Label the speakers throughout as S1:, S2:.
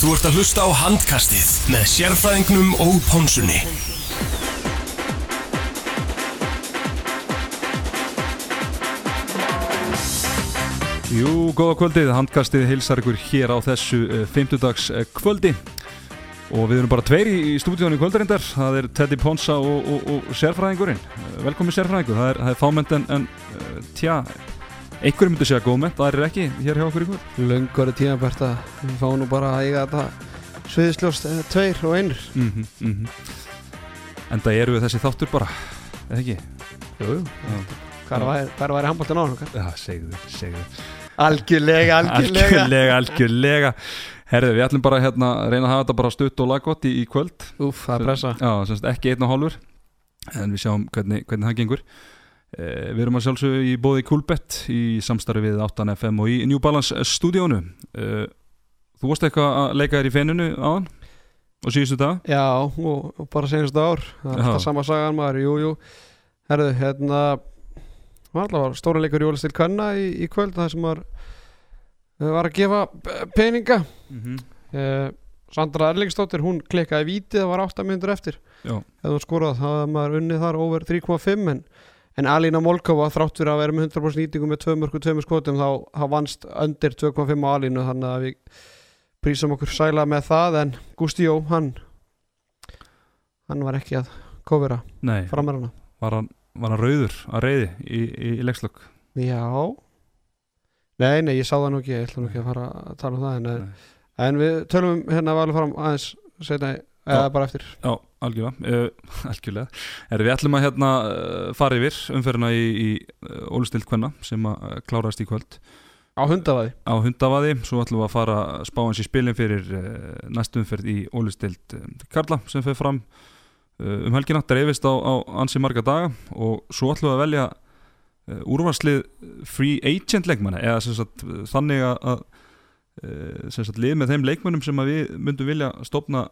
S1: Þú ert að hlusta á handkastið með sérfræðingnum og pónsunni.
S2: Jú, góða kvöldið, handkastið hilsar ykkur hér á þessu fymtudags kvöldi og við erum bara tveir í, í stúdíónu kvöldarindar, það er Teddy Ponsa og, og, og sérfræðingurinn. Eh, Velkomin sérfræðingur, það er, það er fámend en, en eh, tja, einhverjum myndi segja góðmend, það er ekki hér hjá okkur í kvöld.
S3: Löngur er tímabært að við fáum nú bara að eiga þetta sviðisljóst eh, tveir og einur
S2: Mm -hmm, En það eru við þessi þáttur bara, eða ekki?
S3: Jú,
S2: Já.
S3: Hvar væri, hvar væri handbóltan á hann?
S2: Já, segðu, segðu.
S3: Algjörlega, algjörlega
S2: Algjörlega, algjörlega. Herðu, við ætlum bara hérna, að reyna að hafa þetta bara stutt og laggott í, í kvöld.
S3: Úff, það er
S2: Sem-
S3: pressa
S2: Já, semst ekki einn og hálfur En við sjáum hvernig, hvernig það gengur eh, Við erum að sjálfsögðu í bóði Coolbet Í samstarfi við 8FM og í New Balance stúdíónu eh, Þú varst eitthvað að leika þér í fenninu áðan Og síðustu dag
S3: Já, og, og bara senast ár Það er
S2: Já.
S3: alltaf sama sagan maður, jú, jú Herðu, hérna var allavega stóra leikur jólastil kvenna í, í kvöld það sem var, var að gefa eh, peninga
S2: Mhm.
S3: Eh, Sandra Erlingsdóttir, hún klikkaði vítið það var 8 minnur eftir
S2: Já.
S3: ef hún skoraði það hafði maður unnið þar over 3,5 en, en Alina Molkova þrátt fyrir að vera með 100% nýtingu með 2 mörg og 2 skotum þá hafa vannst undir 2,5 á Alinu þannig að við prísum okkur sæla með það en Gusti Jó, hann hann var ekki að kofera
S2: Nei,
S3: framar hana
S2: var hann, var hann rauður að reyði í, í, í leikslokk
S3: Já Nei, nei, ég sá það nú ekki, ég ætla nú ekki að fara að tala um það en,
S2: Nei.
S3: en við tölum hérna valið fram aðeins setna,
S2: Já.
S3: eða bara eftir
S2: Já, algjörlega, uh, algjörlega. Er, Við ætlum að hérna, uh, fara yfir umferðina í, í uh, Ólustild Kvenna sem að uh, klárast í kvöld
S3: á hundavaði
S2: á hundavaði, svo ætlum við að fara að spá hans í spilin fyrir uh, næstumferð í ólistild uh, Karla sem fer fram uh, um helgina dreifist á, á ansi marga daga og svo ætlum við að velja uh, úrvarslið free agent leikmanna eða sem sagt, uh, þannig að- að uh, sem sagt, lið með þeim leikmannum sem að við myndum vilja stopna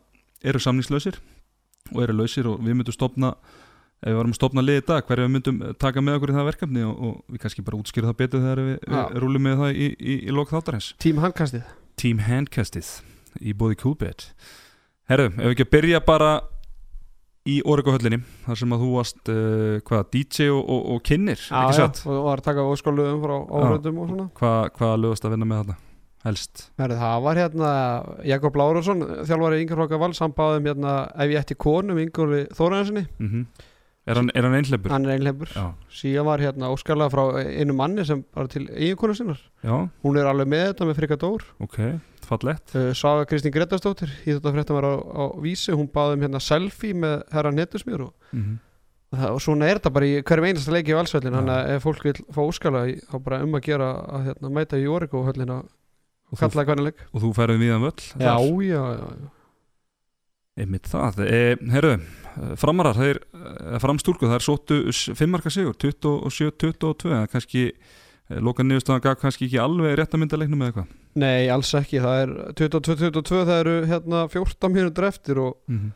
S2: eru samningslausir og eru lausir og við myndum stopna ef við varum að stopna lið í dag, hverju við myndum taka með okkur í það verkefni og, og við kannski bara útskýra það betur þegar við
S3: Já.
S2: ja. rúlum með það í, í, í lok þáttarins.
S3: Tím handkastið
S2: Team Handcastið í bóði Coolbet Herru, ef við ekki að byrja bara í Origo höllinni, þar sem að þú varst uh, hvað, DJ og, og, og kynnir ekki satt,
S3: Og var að taka óskóluðum frá áhverjum og svona
S2: hvað, hvað lögast að vinna með þarna helst,
S3: Herri, Það var hérna Jakob Lárusson, þjálfari yngjörflokka vals Hann báði um hérna ef ég ætti konum yngjörfi Þóraðinsinni,
S2: mm er hann, er hann einhleipur?
S3: hann er einhleipur
S2: Já,
S3: Síðan var hérna óskalega frá einu manni sem var til eiginkonu sinnar
S2: já,
S3: Hún er alveg með þetta með frikadór
S2: ok fallett,
S3: uh, Saga Kristín Gretastóttir, ég þetta frétta var á, á vísi Hún báði um hérna selfie með herra netusmjör og
S2: mm
S3: Það, og svona er þetta bara í hverjum einasta leiki í valsvöllin
S2: Já.
S3: þannig að ef fólk vil fá óskala þá bara um að gera að hérna, mæta í Origo höllina og
S2: Og þú-
S3: kalla hvernig leik
S2: og þú færið viðan völl
S3: Já,
S2: þar.
S3: já, já
S2: Einmitt það, e, herru, eh, framarar, þeir, eh, framstúlku, þær sóttu 5 marka sigur, 27-22, en kannski, eh, loka niðurstaðan gaf kannski ekki alveg rétt að mynda leiknum eða eitthvað.
S3: Nei, alls ekki, það er 22-22, það eru hérna 14 mínútur eftir og,
S2: Mm -hmm.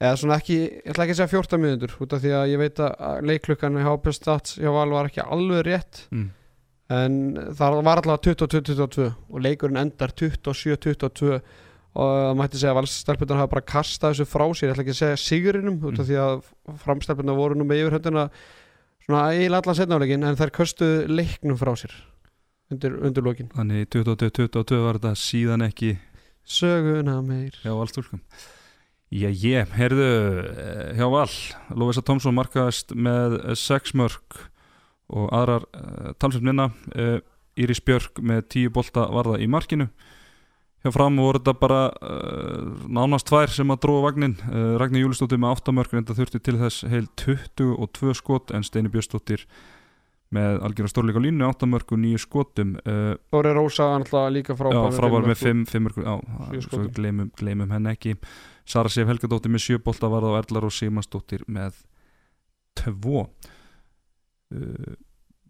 S3: eða svona ekki, ég ætla ekki að segja 14 mínútur út af því að ég veit að leikklukkan í HP Stats hjá Val var ekki alveg rétt
S2: Mm.
S3: en það var allavega 22-22 og leikurinn endar 27-22 og það mætti segja að valstelpunar hafa bara kastað þessu frá sér, ég ætla ekki að segja sigurinum út af
S2: Mm.
S3: því að framstelpunar voru nú með yfirhöndina svona eiginlega allan setnálegin en þær köstuðu leiknum frá sér undir, undir lokin
S2: Þannig 22-22 var þetta síðan ekki
S3: söguna meir
S2: hjá valstúlkum. Já, ég, herðu, eh, hjá val, Lófisa Tomsson markaðist með 6 mörg og aðrar uh, talsveit minna, uh, Íris Björk með 10 bolta varða í markinu. Hjá fram voru þetta bara uh, nánast tvær sem að dróa vagnin. Uh, Ragnar Júlistóttir með 8 mörg, en þurfti til þess heil 22 skot, en Steini Björnstóttir með algjörða stórleika á línu, 8 mörg og 9 skotum. Uh,
S3: Þóri Rósa var náttúrulega líka frábær
S2: Já, frábær með
S3: fimm mörk.
S2: 5 fimm, mörg, já,
S3: Sjö
S2: það- svo
S3: skotum.
S2: gleymum, gleymum henn ekki Sara Sif Helgadóttir með 7 bolta varða og Erlar og Simansdóttir með 2 uh,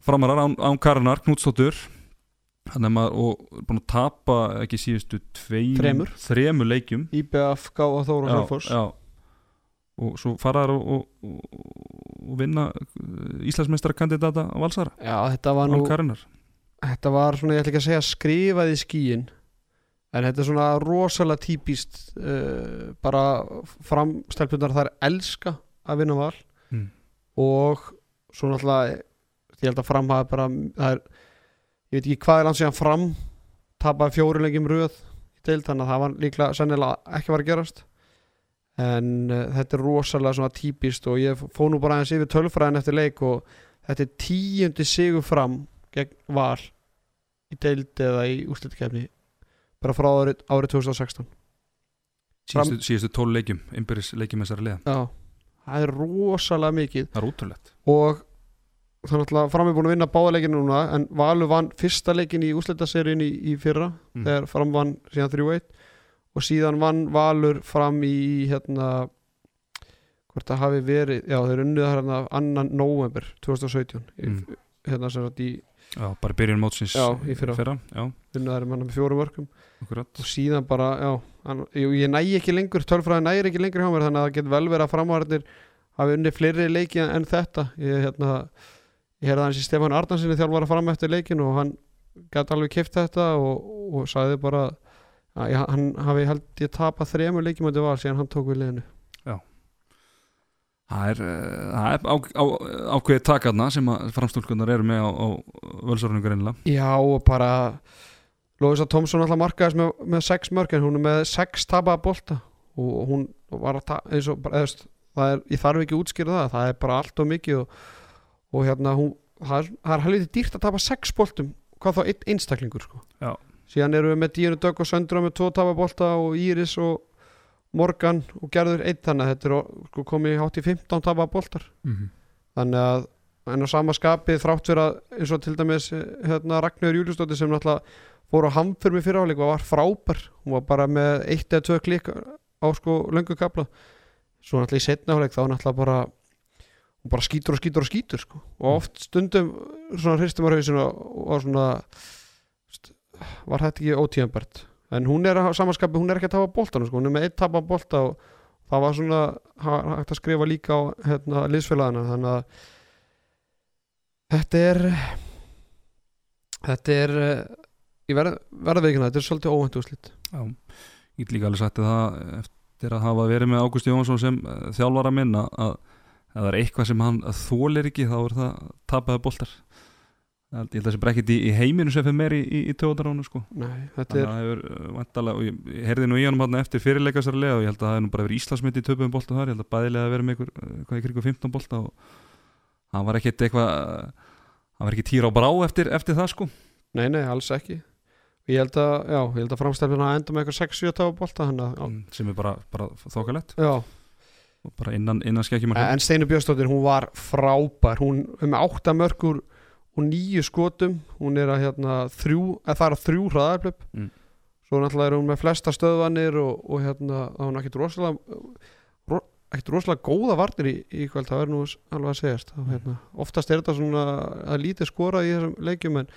S2: Framarar án, án Karinar Knútsdóttur hann er maður og búin að tapa ekki síðustu tveim,
S3: Þremur.
S2: þremur leikjum
S3: IBF, Gáða Þóra og Selfoss
S2: já og svo faraðar og, og, og, og vinna Íslandsmeistarakandidata Valsara
S3: Já, þetta var nú
S2: án Karinar
S3: þetta var svona, ég ætla ekki að segja skrifað í skíin en þetta er svona rosalega típist uh, bara framstelpunar þær elska að vinna val
S2: Mm.
S3: og svona alltaf ég held að fram hafa bara það er, ég veit ekki hvað er hans síðan fram tapaði fjórulegjum röð í deild þannig að það var líklega sennilega ekki var að gerast en uh, þetta er rosalega svona típist og ég fó nú bara aðeins yfir tölfræðin eftir leik og þetta er tíundi sigur fram gegn val í deild eða í úrslitkefni bara frá árið, árið 2016
S2: síðustu, síðustu tól leikjum, innbyrðis leikjum þessari liða
S3: Já. það er rosalega mikið
S2: það er útrúlegt
S3: og það er náttúrulega fram er búin að vinna báða leikinu núna en Valur vann fyrsta leikin í úrslitaseríun í, í fyrra
S2: Mm.
S3: þegar fram vann síðan 3-1 og síðan vann Valur fram í hérna hvort það hafi verið, já þeir unnuð hérna annan november 2017
S2: Mm.
S3: mm. hérna sem sagt í
S2: já, bara í byrjun mótsins
S3: Já, í fyrra.
S2: já,
S3: unnaðar hérna með fjórum örkum
S2: akkurat
S3: og síðan bara, já, hann, ég, ég næ ekki lengur tölfræði nægir ekki lengur hjá mér þannig að það getur vel verið að framvarnir hafi unni fleiri leiki en þetta ég, hérna, ég herði hans í Stefán Arnarsinni þjálfara fram eftir leikin og hann gæti alveg kipt þetta og, og sagði bara að ég- hann hafi held ég tapað þremur leikim að þetta var síðan hann tók við liðinu
S2: það er, eh, það er á, á, ákveðið takarna sem að framstúlkunar eru með á, á völsarunningur einlega
S3: Já og bara Lóisa Tomsson alltaf markaðist með, með sex mörg en hún er með sex tapaða bolta og hún var að ta eins og bara, eðst, það er, ég þarf ekki að útskýra það það er bara allt og mikið og, og hérna hún, það er, það er helviti dýrt að tapa sex boltum, hvað þá einn einstaklingur sko.
S2: Já.
S3: síðan eru við með Díunu Dögg og Söndra með tvo tapaða bolta og Íris og Morgan og Gerður einn þannig að þetta er o- sko, komið hátt í 15 tapaða boltar
S2: mm -hmm.
S3: þannig að en á sama skapi þrátt fyrir að eins og til dæmis eh, hérna, Ragnar Júliusdóttir sem náttúrulega fór á hamför með fyrirháleik og var frábær hún var bara með eitt eða tvö klikk á sko löngu kapla svo náttúrulega í setnaháleik þá náttúrulega bara hún bara skýtur og skýtur og skýtur sko. og oft stundum svona hristum á hausinu og og svona st- var þetta ekki ótíðanbært en hún er að samanskapi, hún er ekki að tapa boltanum sko. hún er með eitt tapa bolta og það var svona ha- hægt að skrifa líka á hérna, liðsfélagana þannig að þetta er þetta er eh, ég verð, verða veikina, þetta er svolítið óvænt úrslit
S2: Já, ég get líka alveg sagt það eftir að hafa verið með Ágúst Jónsson sem eh, þjálfara minn að, að ef það er eitthvað sem hann þólir ekki þá er það tapaði boltar ég held ég held að það sé bara ekkit í, í heiminu sem fyrir meir í, í, í töðundaránu sko
S3: Nei,
S2: þannig
S3: þetta
S2: að
S3: er,
S2: það hefur vantalega og ég, ég heyrði nú í hann hann eftir fyrirleikasar lega og ég held að það hefur nú bara verið Íslandsmynd í töpuðum bolta þar ég held að bæðilega að vera með ykkur, eh, hvað í kringu 15 bolta og hann var ekkit eitthvað hann var ekki týra á brá eftir, eftir það sko
S3: nei, nei, alls ekki ég held að, já, ég held að framstæðin að enda með eitthvað 6-7 tafa bolta hann að,
S2: sem er bara, bara þokalett
S3: já,
S2: og bara innan, innan skekkjum
S3: en Steinu Björnsdóttir hún var frábær, hún er með 8 mörgur og 9 skotum hún er að hérna þrjú, að það er að þrjú hraðarblöp
S2: Mm.
S3: svo náttúrulega er hún með flesta stöðvanir og, og hérna, þá er hún ekkit rosalega ro, ekkit rosalega góða varnir í, í kvöld, það er nú s- alveg að segjast þá, hérna, oftast er þetta svona að lítið skora í þessum leikjum en,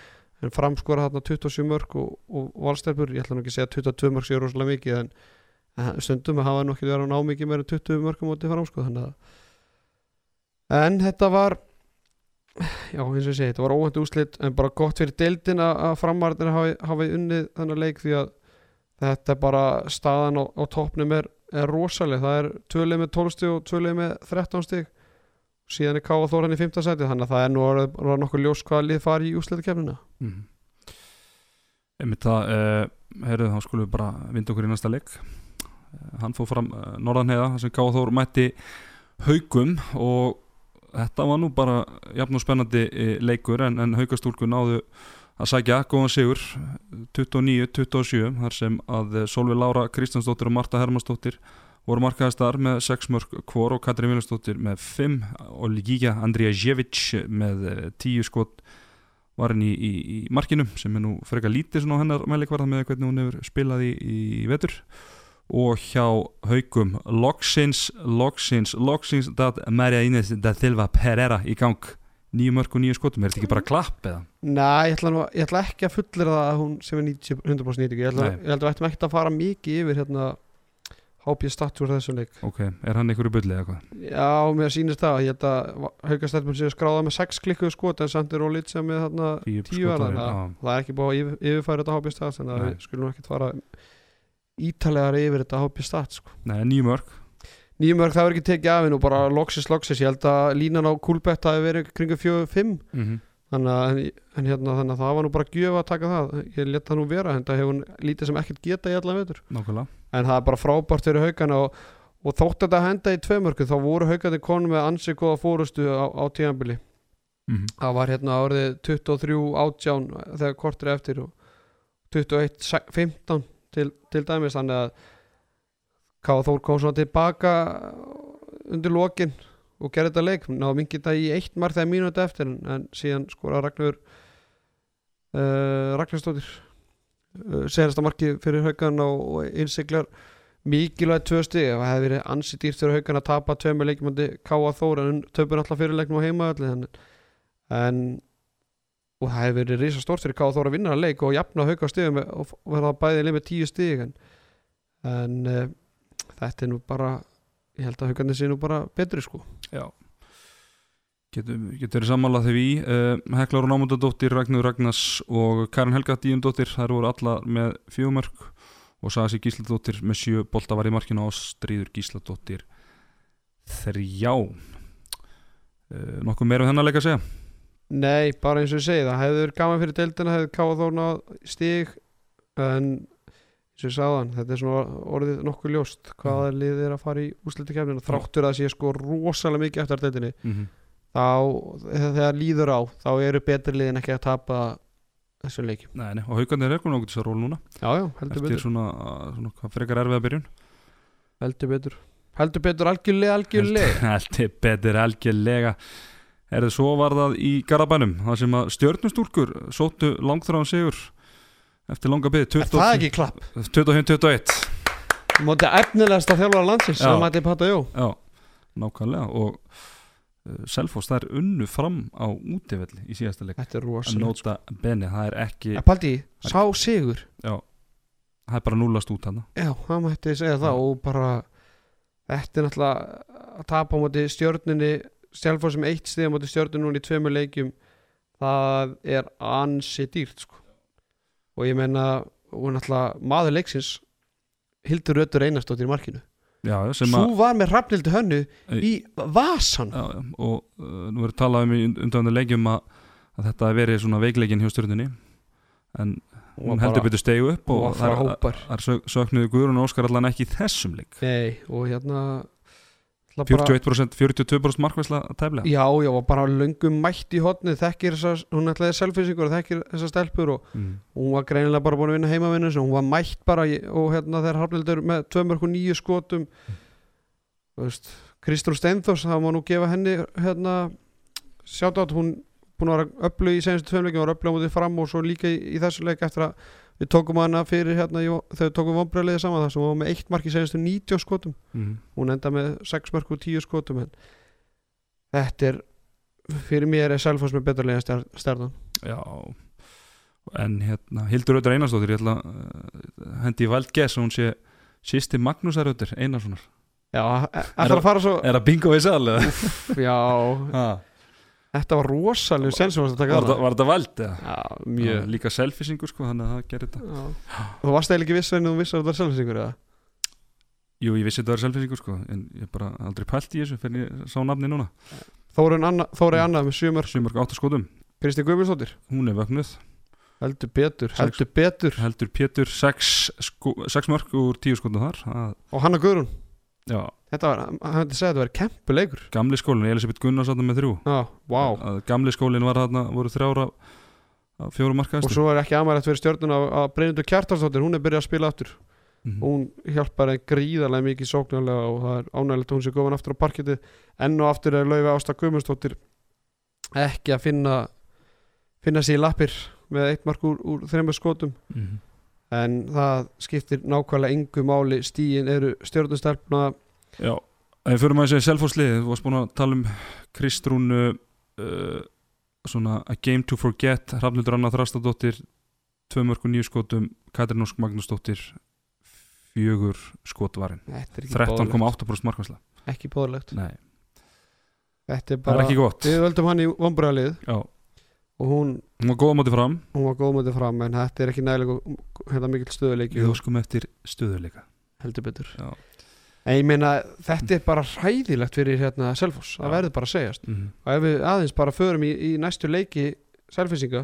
S3: en framskora hérna 27 mörg og, og valstelpur, ég ætla nú ekki að segja 22 mörg séu rosalega mikið en, en stundum hafa nú ekki verið á námikið meira en 20 mörg á móti framskora, þannig að En þetta var Já, eins og ég segi, þetta var óhænt úslit en bara gott fyrir deildin að- að framarðin hafi, hafi unnið þennan leik því að þetta er bara staðan á, á toppnum er, er rosaleg það er tvölið með 12 stig og tvölið með 13 stig síðan er Káa Þóran í 15 seti þannig að það er nú orðið, orðið nokkuð ljós hvaða lið fari í úslitakefnina
S2: Mhm. Einmitt það, uh, heyrðu þá skulum við bara vinda okkur í næsta leik uh, Hann fór fram uh, norðanheiða þar sem Káa Þór mætti haugum og þetta var nú bara jafn og spennandi eh, leikur en, en haugastúlku náðu að sækja góðan sigur 29-27 þar sem að eh, Solveig Lára Kristjánsdóttir og Marta Hermannsdóttir voru markaðistar með 6 mörg kvor og Katrin Viljansdóttir með 5 og Ligíja Andrija Jevic með 10 skot var henni í, í, í markinu sem er nú frekar lítið svona á hennar mælikvarða með hvernig hún hefur spilað í, í vetur og hjá haukum Logsins, Logsins, Logsins dat Maria Ines da Silva Pereira í gang nýju mörg og nýju skotum, er þetta ekki bara klapp eða?
S3: Nei, ég ætla, nú, ég ætla ekki að fullera það að hún sem er 90, 100% nýtingu ég, ætla-
S2: Nei.
S3: ég held að við ættum ekkert að fara mikið yfir hérna hóp ég statt úr þessum leik
S2: ok, er hann einhverju bulli eða eitthvað
S3: já, mér sýnist það, ég held að haugastættum séu skráða með 6 klikkuð skot en samt er Rólit sem er þarna tíu
S2: skotar,
S3: alveg
S2: já.
S3: það er ekki búið að yfir- yfirfæra þetta hóp ég statt þannig að
S2: Nei.
S3: við skulum ekkert fara ítalegari yfir þetta hóp ég statt sko.
S2: Nei, nýjum örk
S3: nýjumörk það verður ekki tekið af henn og bara loksis loksis, ég held að línan á kúlbett hafi verið kringu 4-5
S2: mm -hmm.
S3: þannig að, en hérna, þannig að það var nú bara gjöf að taka það, ég let það nú vera en það hefur hún lítið sem ekkert geta í allan vetur
S2: Nákvæmlega
S3: en það er bara frábært fyrir haugana og, og þótt þetta henda í tveimörku þá voru haugandi konum með ansið góða fórustu á, á tíðanbili
S2: mm -hmm.
S3: það var hérna árið 23 átján þegar kortur er eftir og 21 se- 15 til, til dæmis þannig að Káða Þór kom svona tilbaka undir lokin og gerði þetta leik ná mingið þetta í eitt marg þegar mínúti eftir en, en síðan skora Ragnar uh, Ragnarstóttir uh, senasta marki fyrir haugan og, og innsiklar mikilvægt tvö stig það hefði verið ansi dýrt fyrir haugan að tapa tveimur leikum undir Káða Þór en töpun alltaf fyrir leiknum á heimaðalli en, en og það hefði verið risa stórt fyrir Káða Þór að vinna hann leik og jafna hauga stigum og f- verða bæðið leið með tíu stig en, en uh, þetta er nú bara ég held að haugarnir sé nú bara betri sko
S2: Já Getum, getur þið sammálað þegar við uh, Heklar og Námundadóttir, Ragnar Ragnars og Karin Helga Díundóttir, þær voru allar með fjögumörk og Sasi Gísladóttir með sjö bolta var í markinu og Ástríður Gísladóttir þrjá uh, Nokkuð meira um þennan leik að segja
S3: nei, bara eins og ég segi það hefði verið gaman fyrir deildina hefði káða þó náð stig en eins og ég sagði hann, þetta er svona orðið nokkuð ljóst hvaða mm. lið er að fara í úsliti kemnina þráttur að það sé sko rosalega mikið eftir af deildinni
S2: mm -hmm.
S3: þá, þegar líður á þá eru betri liðin ekki að tapa þessum leikim
S2: Nei, nei, og haugarnir er komin okkur þess að ról núna
S3: já, já, heldur
S2: eftir
S3: betur,
S2: svona, svona hvað frekar erfiða byrjun
S3: heldur betur heldur betur algjörlega, algjörlega
S2: Heldur betur algjörlega Er svo var það í Garabænum þar sem að stjörnustúlkur sóttu langþráðan sigur eftir langa byrði
S3: Er það ekki klapp
S2: 25-21
S3: Móti efnilegasta þjálfara landsins
S2: Já.
S3: sem mætti Pata Jó
S2: Já, nákvæmlega og uh, Selfoss þær unnu fram á útivelli í síðasta leik
S3: Þetta er
S2: að
S3: rosalegt sko.
S2: nota benni, það er ekki
S3: En Paldi, sá sigur
S2: það er bara núlast út hann
S3: Já, það mætti segja það og bara Þetta er náttúrulega að tapa á móti stjörnunni Sjálfór sem eitt stiga móti stjörnunni núna í tveimur leikjum Það er ansi dýrt sko Og ég meina og náttúrulega maður leiksins Hildur Röttur Einarstóttir í markinu
S2: Já, já, sem að
S3: Svo var með Rafnildi Hönnu
S2: Ei.
S3: í vasan
S2: já, já, og uh, nú verður talað um í undanvendu leikjum að, að þetta hafi verið svona veikleikin hjá stjörnunni en hún heldur betur stegu upp
S3: og
S2: og
S3: að fara
S2: þær
S3: hópar
S2: þar sök- söknuðu Guðrún og Óskar allan ekki í þessum leik
S3: Nei, og hérna ætla bara-
S2: 41% 42% markvæsla tæflega
S3: Já, já, og bara löngum mætt í hotnið þekkir þessar, hún ætlaði selfisingur og þekkir þessar stelpur og
S2: mm.
S3: hún var greinilega bara búin að vinna heimavinnu sinni, hún var mætt bara í- og hérna þegar Haraldur með 2.9 skotum þú veist, Kristrún Steinþors, það má nú gefa henni hérna, sjátt átt hún búin að vera öflu í senstu tveimleikin var öflu á móti fram og svo líka í, í þessu leik eftir að við tókum hana fyrir hérna, í- þegar við tókum vombriðlega saman þar sem hún var með eitt mark í senstu 90 skotum
S2: Mm.
S3: hún enda með 6 mörg og 10 skotum en þetta er fyrir mér er Selfoss með betra liða stjar- stjarnan
S2: Já En hérna, Hildur Öður Einarsdóttir ég ætla að uh, hendi í væld gess hún sé sýsti Magnúsar Öður Einarssonar
S3: já, eftir að fara svo
S2: Er það bingo við sæl?
S3: já,
S2: Var
S3: þetta var rosalega sen sem varst að taka
S2: þetta-
S3: þarna
S2: var þetta væld? eða?
S3: já,
S2: Já,
S3: mjög
S2: Líka selfisingur sko, þannig að það gerir þetta
S3: já. þú varst eða ekki viss en þú vissar að þetta var Selfossingur eða
S2: Jú, ég vissi þetta var selfisingur sko en ég bara aldrei pælt í þessu fyrir ég sá nafni núna
S3: Þórun Anna, Þórei Anna með 7 mörg
S2: Sjömark átta skotum,
S3: Kristi Guðbjörnsdóttir,
S2: hún er vöknuð
S3: heldur betur
S2: Sex.
S3: heldur betur
S2: heldur Pétur 6 mörg úr 10 skotum þar að,
S3: og Hanna Guðrún
S2: já,
S3: þetta var, hann hefði segið að þetta var kempuleikur
S2: gamli skólin, Elisabeth Gunnars þarna með þrjú
S3: já, wow
S2: að gamli skólin var þarna, voru þrjára fjóru
S3: og
S2: markaðist
S3: svo er ekki amarætt fyrir stjörnun að Brynundur Kjartarsdóttir, hún er byrjað að spila aftur
S2: Mhm.
S3: hún hjálpar henni gríðarlega mikið sóknarlega og það er ánægilegt að hún sé góðan aftur á parketið enn og aftur er laufi Ásta Guðmundsdóttir ekki að finna finna sér í lappir með eitt mark úr, úr þreymur skotum
S2: Mhm.
S3: en það skiptir nákvæmlega yngu máli stíin eru stjórnustelpna
S2: Já, en fyrir maður að segja selfhóðslið þú varst búin að tala um Kristrún uh, svona A Game to Forget, Hrafnildur Anna Þrastadóttir tvö mörg og nýju skotum Katrin Ósk Magnúsdóttir fjögur skotvarin
S3: Þetta er ekki boðlegt
S2: 13,8% markværsla
S3: Ekki boðlegt
S2: Nei,
S3: Þetta
S2: það
S3: er
S2: er
S3: bara
S2: ekki gott
S3: Við völdum hann í vombröðalið
S2: Já,
S3: og hún,
S2: hún var góða móti fram
S3: hún var góð mútið fram en þetta er ekki nægilega gó- hérna mikill stöðuleiki
S2: Við
S3: og
S2: óskum eftir stöðuleika
S3: heldur betur
S2: Já.
S3: En ég meina þetta er bara hræðilegt fyrir hérna Selfoss, það
S2: Já.
S3: verður bara að segjast
S2: mm -hmm.
S3: og ef við aðeins bara förum í, í næstu leiki Selfinsinga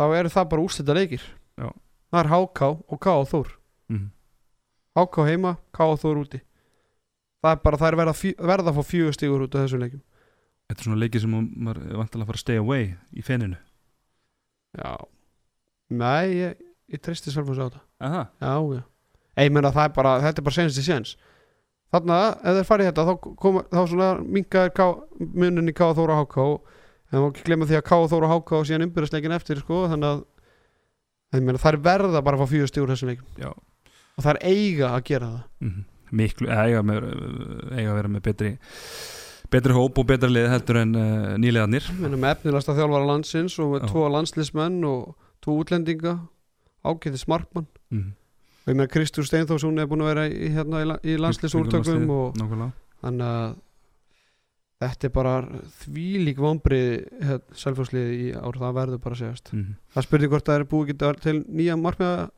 S3: þá eru það bara úrslita leikir
S2: Já.
S3: það er HK og K og Þór
S2: Mhm.
S3: HK heima, K og Þór úti það er bara, það er verða, fjö- verða að fá fjögur stígur út af þessum leikum
S2: Þetta er svona leiki sem hún- maður er vantilega að fara að stay away í fenninu
S3: já nei, ég, ég tristi Selfins á þetta
S2: Aha.
S3: já, já Ei, meina, það er bara, þetta er bara senast í séns þarna, ef þeir farið þetta þá, koma, þá svona minkaðir K, munin í K og Þór og HK en þá ekki glemma því að K og Þór og HK og síðan umbyrðasleikin eftir sko, þannig að ég meina, þær verða bara að fá fjögur stígur þessum leikum
S2: Já.
S3: og þær eiga að gera það
S2: Mm Miklu, eða eiga, með, eiga að vera með betri betri hóp og betra lið heldur en uh, nýlegaðnir
S3: Ég meina með efnilegasta þjálfara landsins og með
S2: Já.
S3: tvo landslismenn og tvo útlendinga ágæti smartmann
S2: mm -hmm.
S3: og ég meina Kristur Steinþórs hún er búin að vera í, hérna, í, la- í landslisúrtökum og
S2: Nákvæmlega
S3: þannig að þetta er bara þvílík vombrið hérna, selvfjóðsliði í ár það verður bara að segjast
S2: mm -hmm.
S3: það spurði hvort það er búið að geta til nýja markmiða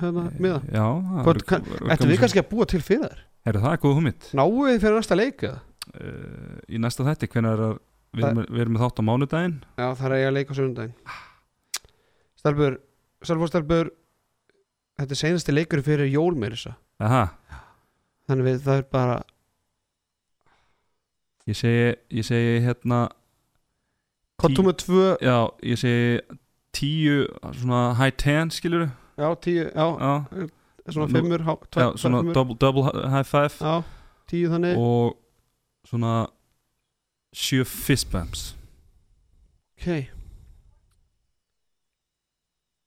S3: hérna, miða
S2: Já það
S3: Hvort
S2: er-
S3: kann-
S2: er-
S3: Ættum við kannski að búa til fyrir þær?
S2: Heyrðu, það er góð hugmynd
S3: Náum við fyrir næsta leika?
S2: uh, í næsta þætti hvenær er að við
S3: Það-
S2: erum, við erum með þátt á mánudaginn
S3: Já, það er að eiga að leika á sögundaginn Stelbur, Stelbur, Stelbur Þetta er seinasti leikur fyrir jól meira þess að
S2: Aha,
S3: Þannig við það er bara
S2: ég segi, ég segi hérna
S3: Kottum með tvö
S2: já, ég segi tíu svona high ten skilur
S3: Já, tíu, já,
S2: já,
S3: svona
S2: Nú-
S3: fimmur há- tvær-
S2: já,
S3: tvær
S2: svona
S3: fimmur.
S2: double, double high five
S3: Já, tíu þannig
S2: og svona sjö fist bumps
S3: Ok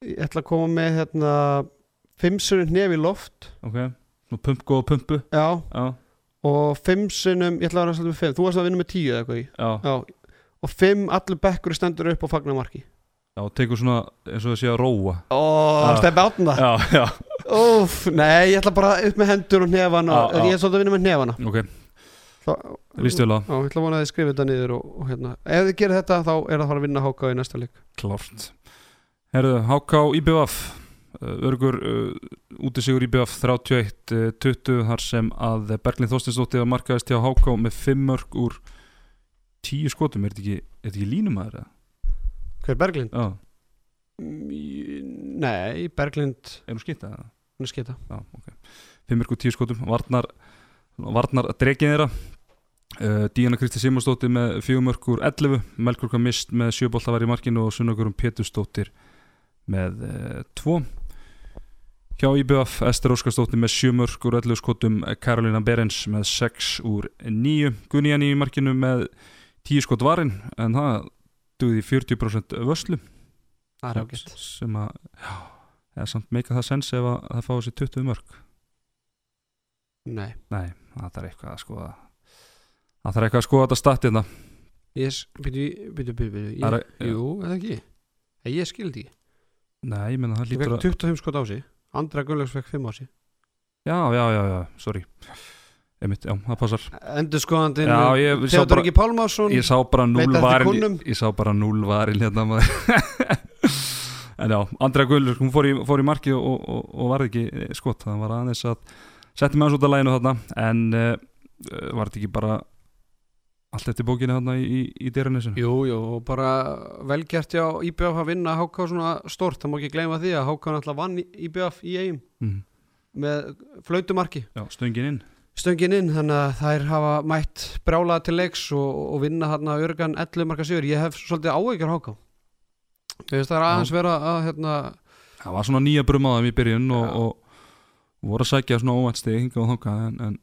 S3: Ég ætla að koma með hérna Fimm sinnum nef í loft
S2: ok, svona pump góða pumpu
S3: Já,
S2: já,
S3: og fimm sinnum Ég ætla að vera svolítið með fimm, þú varst að vinna með tíu eða eitthvað í
S2: já,
S3: Já, og fimm allur bekkur stendur upp og fagnar marki
S2: já, tekur svona eins og það sé að róa
S3: Ó,
S2: Já.
S3: stefni átna
S2: já, já,
S3: Úf, nei, ég ætla bara upp með hendur og nefana
S2: Já, já.
S3: Ég er svolítið að vinna með nefana
S2: ok,
S3: Það-
S2: líst vel á
S3: Já, ég ætla að vona að þið skrifa þetta niður og, og hérna Ef þið gerir þetta, þá er það að fara að vinna háka í næsta leik
S2: Klárt Herðu, HK IBF Örgur uh, útisigur IBF 31-20 eh, þar sem að Berglind Þorstinsdóttir var markaðist hjá HK með 5 mörg úr 10 skotum, er þetta ekki, er þetta ekki línumæður?
S3: Hver Berglind?
S2: Já,
S3: Mm, Nei, Berglind
S2: er hún skýtt að það?
S3: Hún er skita
S2: Já, ok 5 mörg úr 10 skotum, varnar varnar dregið þeirra uh, Díana Kristi Simonsdóttir með 4 mörg úr 11, Melkurka Mist með 7 bolta var í markinu og Sunnagurum Pétursdóttir með 2 Hjá IBF, Ester Óskarsdóttir með 7 mörg úr 11 skotum, Karolina Berens með 6 úr 9, Gunnian í markinu með 10 skot varinn, en það duði 40% vöslu
S3: Það er ágætt
S2: sem að, já, eða samt meika það sens ef að það fá þessi 20 mörg.
S3: Nei,
S2: Nei, það þarf eitthvað að skoða, það þarf eitthvað að skoða þetta statið hérna. það.
S3: ég s- Býtu, býtu, býtu, býtu
S2: Það
S3: ég,
S2: er- já.
S3: Jú, er það ekki Nei, Ég skildi ekki
S2: Nei, ég menna það
S3: Ég
S2: lítur
S3: fekk
S2: að,
S3: 25 skot á sig Andra Gunnlaugs fekk 5 á sig
S2: já, já, já, já, sorry, einmitt, já, það passar.
S3: Endur skoðandinn
S2: Já, ég sá
S3: Theodor
S2: bara,
S3: Ingi Pálmarsson
S2: ég sá bara
S3: Leita
S2: núl
S3: eftir
S2: varin
S3: kúnnum.
S2: ég sá bara núl varin hérna maður en já, Andrea Gullur hún fór í, fór í marki og, og, og varði ekki eh, skot, það var aðeins að setti með hans út af læginu þarna en uh, var þetta ekki bara allt eftir bókinu þarna í, í, í dyranessinu
S3: Jú, jú, og bara velgert já IBF að vinna HK svona stort það má ekki gleyma því að HK náttúrulega vann IBF í eigum
S2: mm.
S3: með flautumarki
S2: já, stöngin inn
S3: stöngin inn, þannig að þær hafa mætt brjálaða til leiks og, og vinna hérna örgan 11 marka sigur, ég hef svolítið áhyggjur af HK ég veist það er aðeins vera að hérna,
S2: það var svona nýja brumaðum í byrjun
S3: Já.
S2: og, og voru að sækja svona óvænt stig hingað og þangað en, en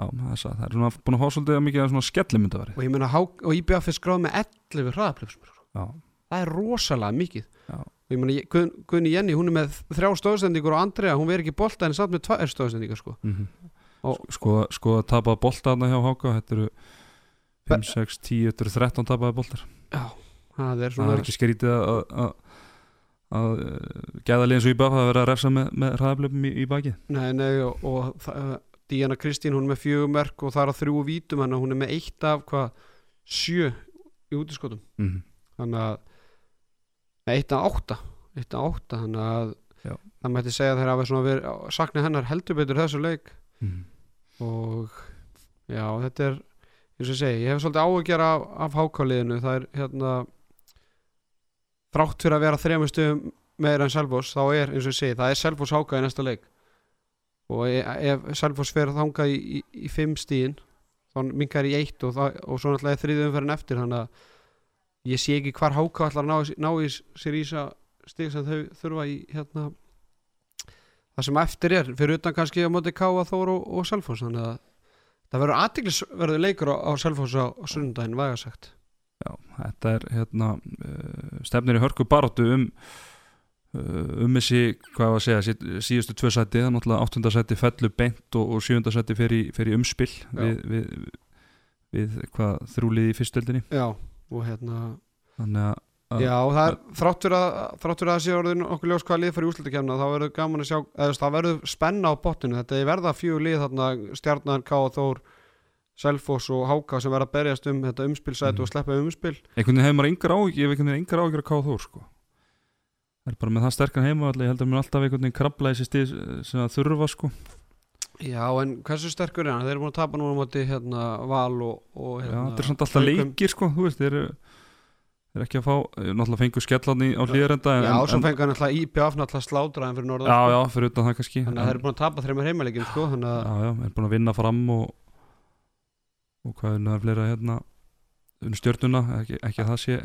S2: já, það er, satt, það er svona búin að fá svolítið mikið af svona skellimyndavari
S3: og ég meina HK, og IBF er skráð með 11 hraðaplöfsmur
S2: já,
S3: það er rosalega mikið
S2: Já.
S3: og ég meina, ég- Guðn, Guðni Jenny, hún er með þrjá stóðsendingur og Andrea, hún verið ekki bolta en samt með tvær stóðsendingar sko
S2: mhm
S3: og
S2: skoða, skoða tapaða sko bolta þarna hjá Háka þetta eru 5, 6, 10, þetta eru 13 tapaða boltar
S3: já, það er
S2: það
S3: svona
S2: er ekki skrítið að, að, að uh, gæða liðin svo í bafa að vera að refsa með, með hraðaflöfum í, í baki
S3: Nei, nei, og, og það- Díana Kristín hún er með fjögur merk og það er að þrjú vítum hann hún er með eitt af hvað sjö í útiskotum
S2: mm -hmm.
S3: þannig að nei, eitt af átta eitt af átta þannig að
S2: Já.
S3: það mætti segja að þeir hafa svona verið sakna hennar heldur betur þessu leik
S2: Mhm.
S3: og já, þetta er eins og ég segi, ég hef svolítið áhugjara af, af hákáliðinu, það er hérna þrátt fyrir að vera þremur stöðum meira en Selfoss þá er, eins og ég segi, það er Selfoss háká í næsta leik og e- ef Selfoss fer þangað í, í, í fimm stíðin þá minkar í eitt og, það, og svo náttúrulega er þriðið umferðin eftir þannig að ég sé ekki hvar háká allar ná, í- ná í s- sér í þessa stig sem þau þurfa í hérna það sem eftir er, fyrir utan kannski að móti Káa Þór og, og Selfoss þannig að það verður aðtiklisverður leikur á, á Selfoss á, á sundaginn, væga sagt
S2: Já, þetta er hérna uh, stefnir í hörku baróttu um uh, um þessi, hvað var að segja sí- síðustu tvö sæti, það er náttúrulega áttunda sæti fellur beint og, og sjöunda sæti fer í, fer í umspil við, við, við hvað þrúlið í fyrstöldinni
S3: já, og hérna
S2: þannig að Já.
S3: já, og það er, þráttur að þráttur að það sé orðin okkur ljós hvaða lið fyrir úslutakefna þá verður gaman að sjá, eða þú veist, það verður spenna á botninu, þetta er verða fjögur lið þarna stjarnar, Káa Þór Selfoss og Háka sem verða að berjast um þetta umspilsæti
S2: Mhm.
S3: og sleppa við umspil
S2: einhvern veginn hefur maður yngar ágjör ef einhvern veginn yngar ágjör að káða þór sko. það er bara með það sterkan heima ég held að mér alltaf einhvern veginn krabla í þessi stíð sem það þurfa sko.
S3: já, en hversu sterkur er hann? Þeir eru búin að tapa núna á móti hérna Val og, og
S2: Já,
S3: hérna,
S2: þetta er samt alltaf
S3: Haukum.
S2: leikir sko, þú veist, þeir eru þeir eru ekki að fá, eh, náttúrulega fengu skellan í, á hlýðarenda en,
S3: Já,
S2: en,
S3: og svo
S2: en-
S3: fengur hann alltaf IPF náttúrulega slátraðan fyrir norðan
S2: já,
S3: sko.
S2: já, fyrir utan það kannski
S3: Þannig að það er búin að tapa þreymur heimaleikjum sko, þannig að
S2: Já, já, er búin að vinna fram og og hvað er nöðan fleira hérna um stjörnuna, ekki, ekki að það sé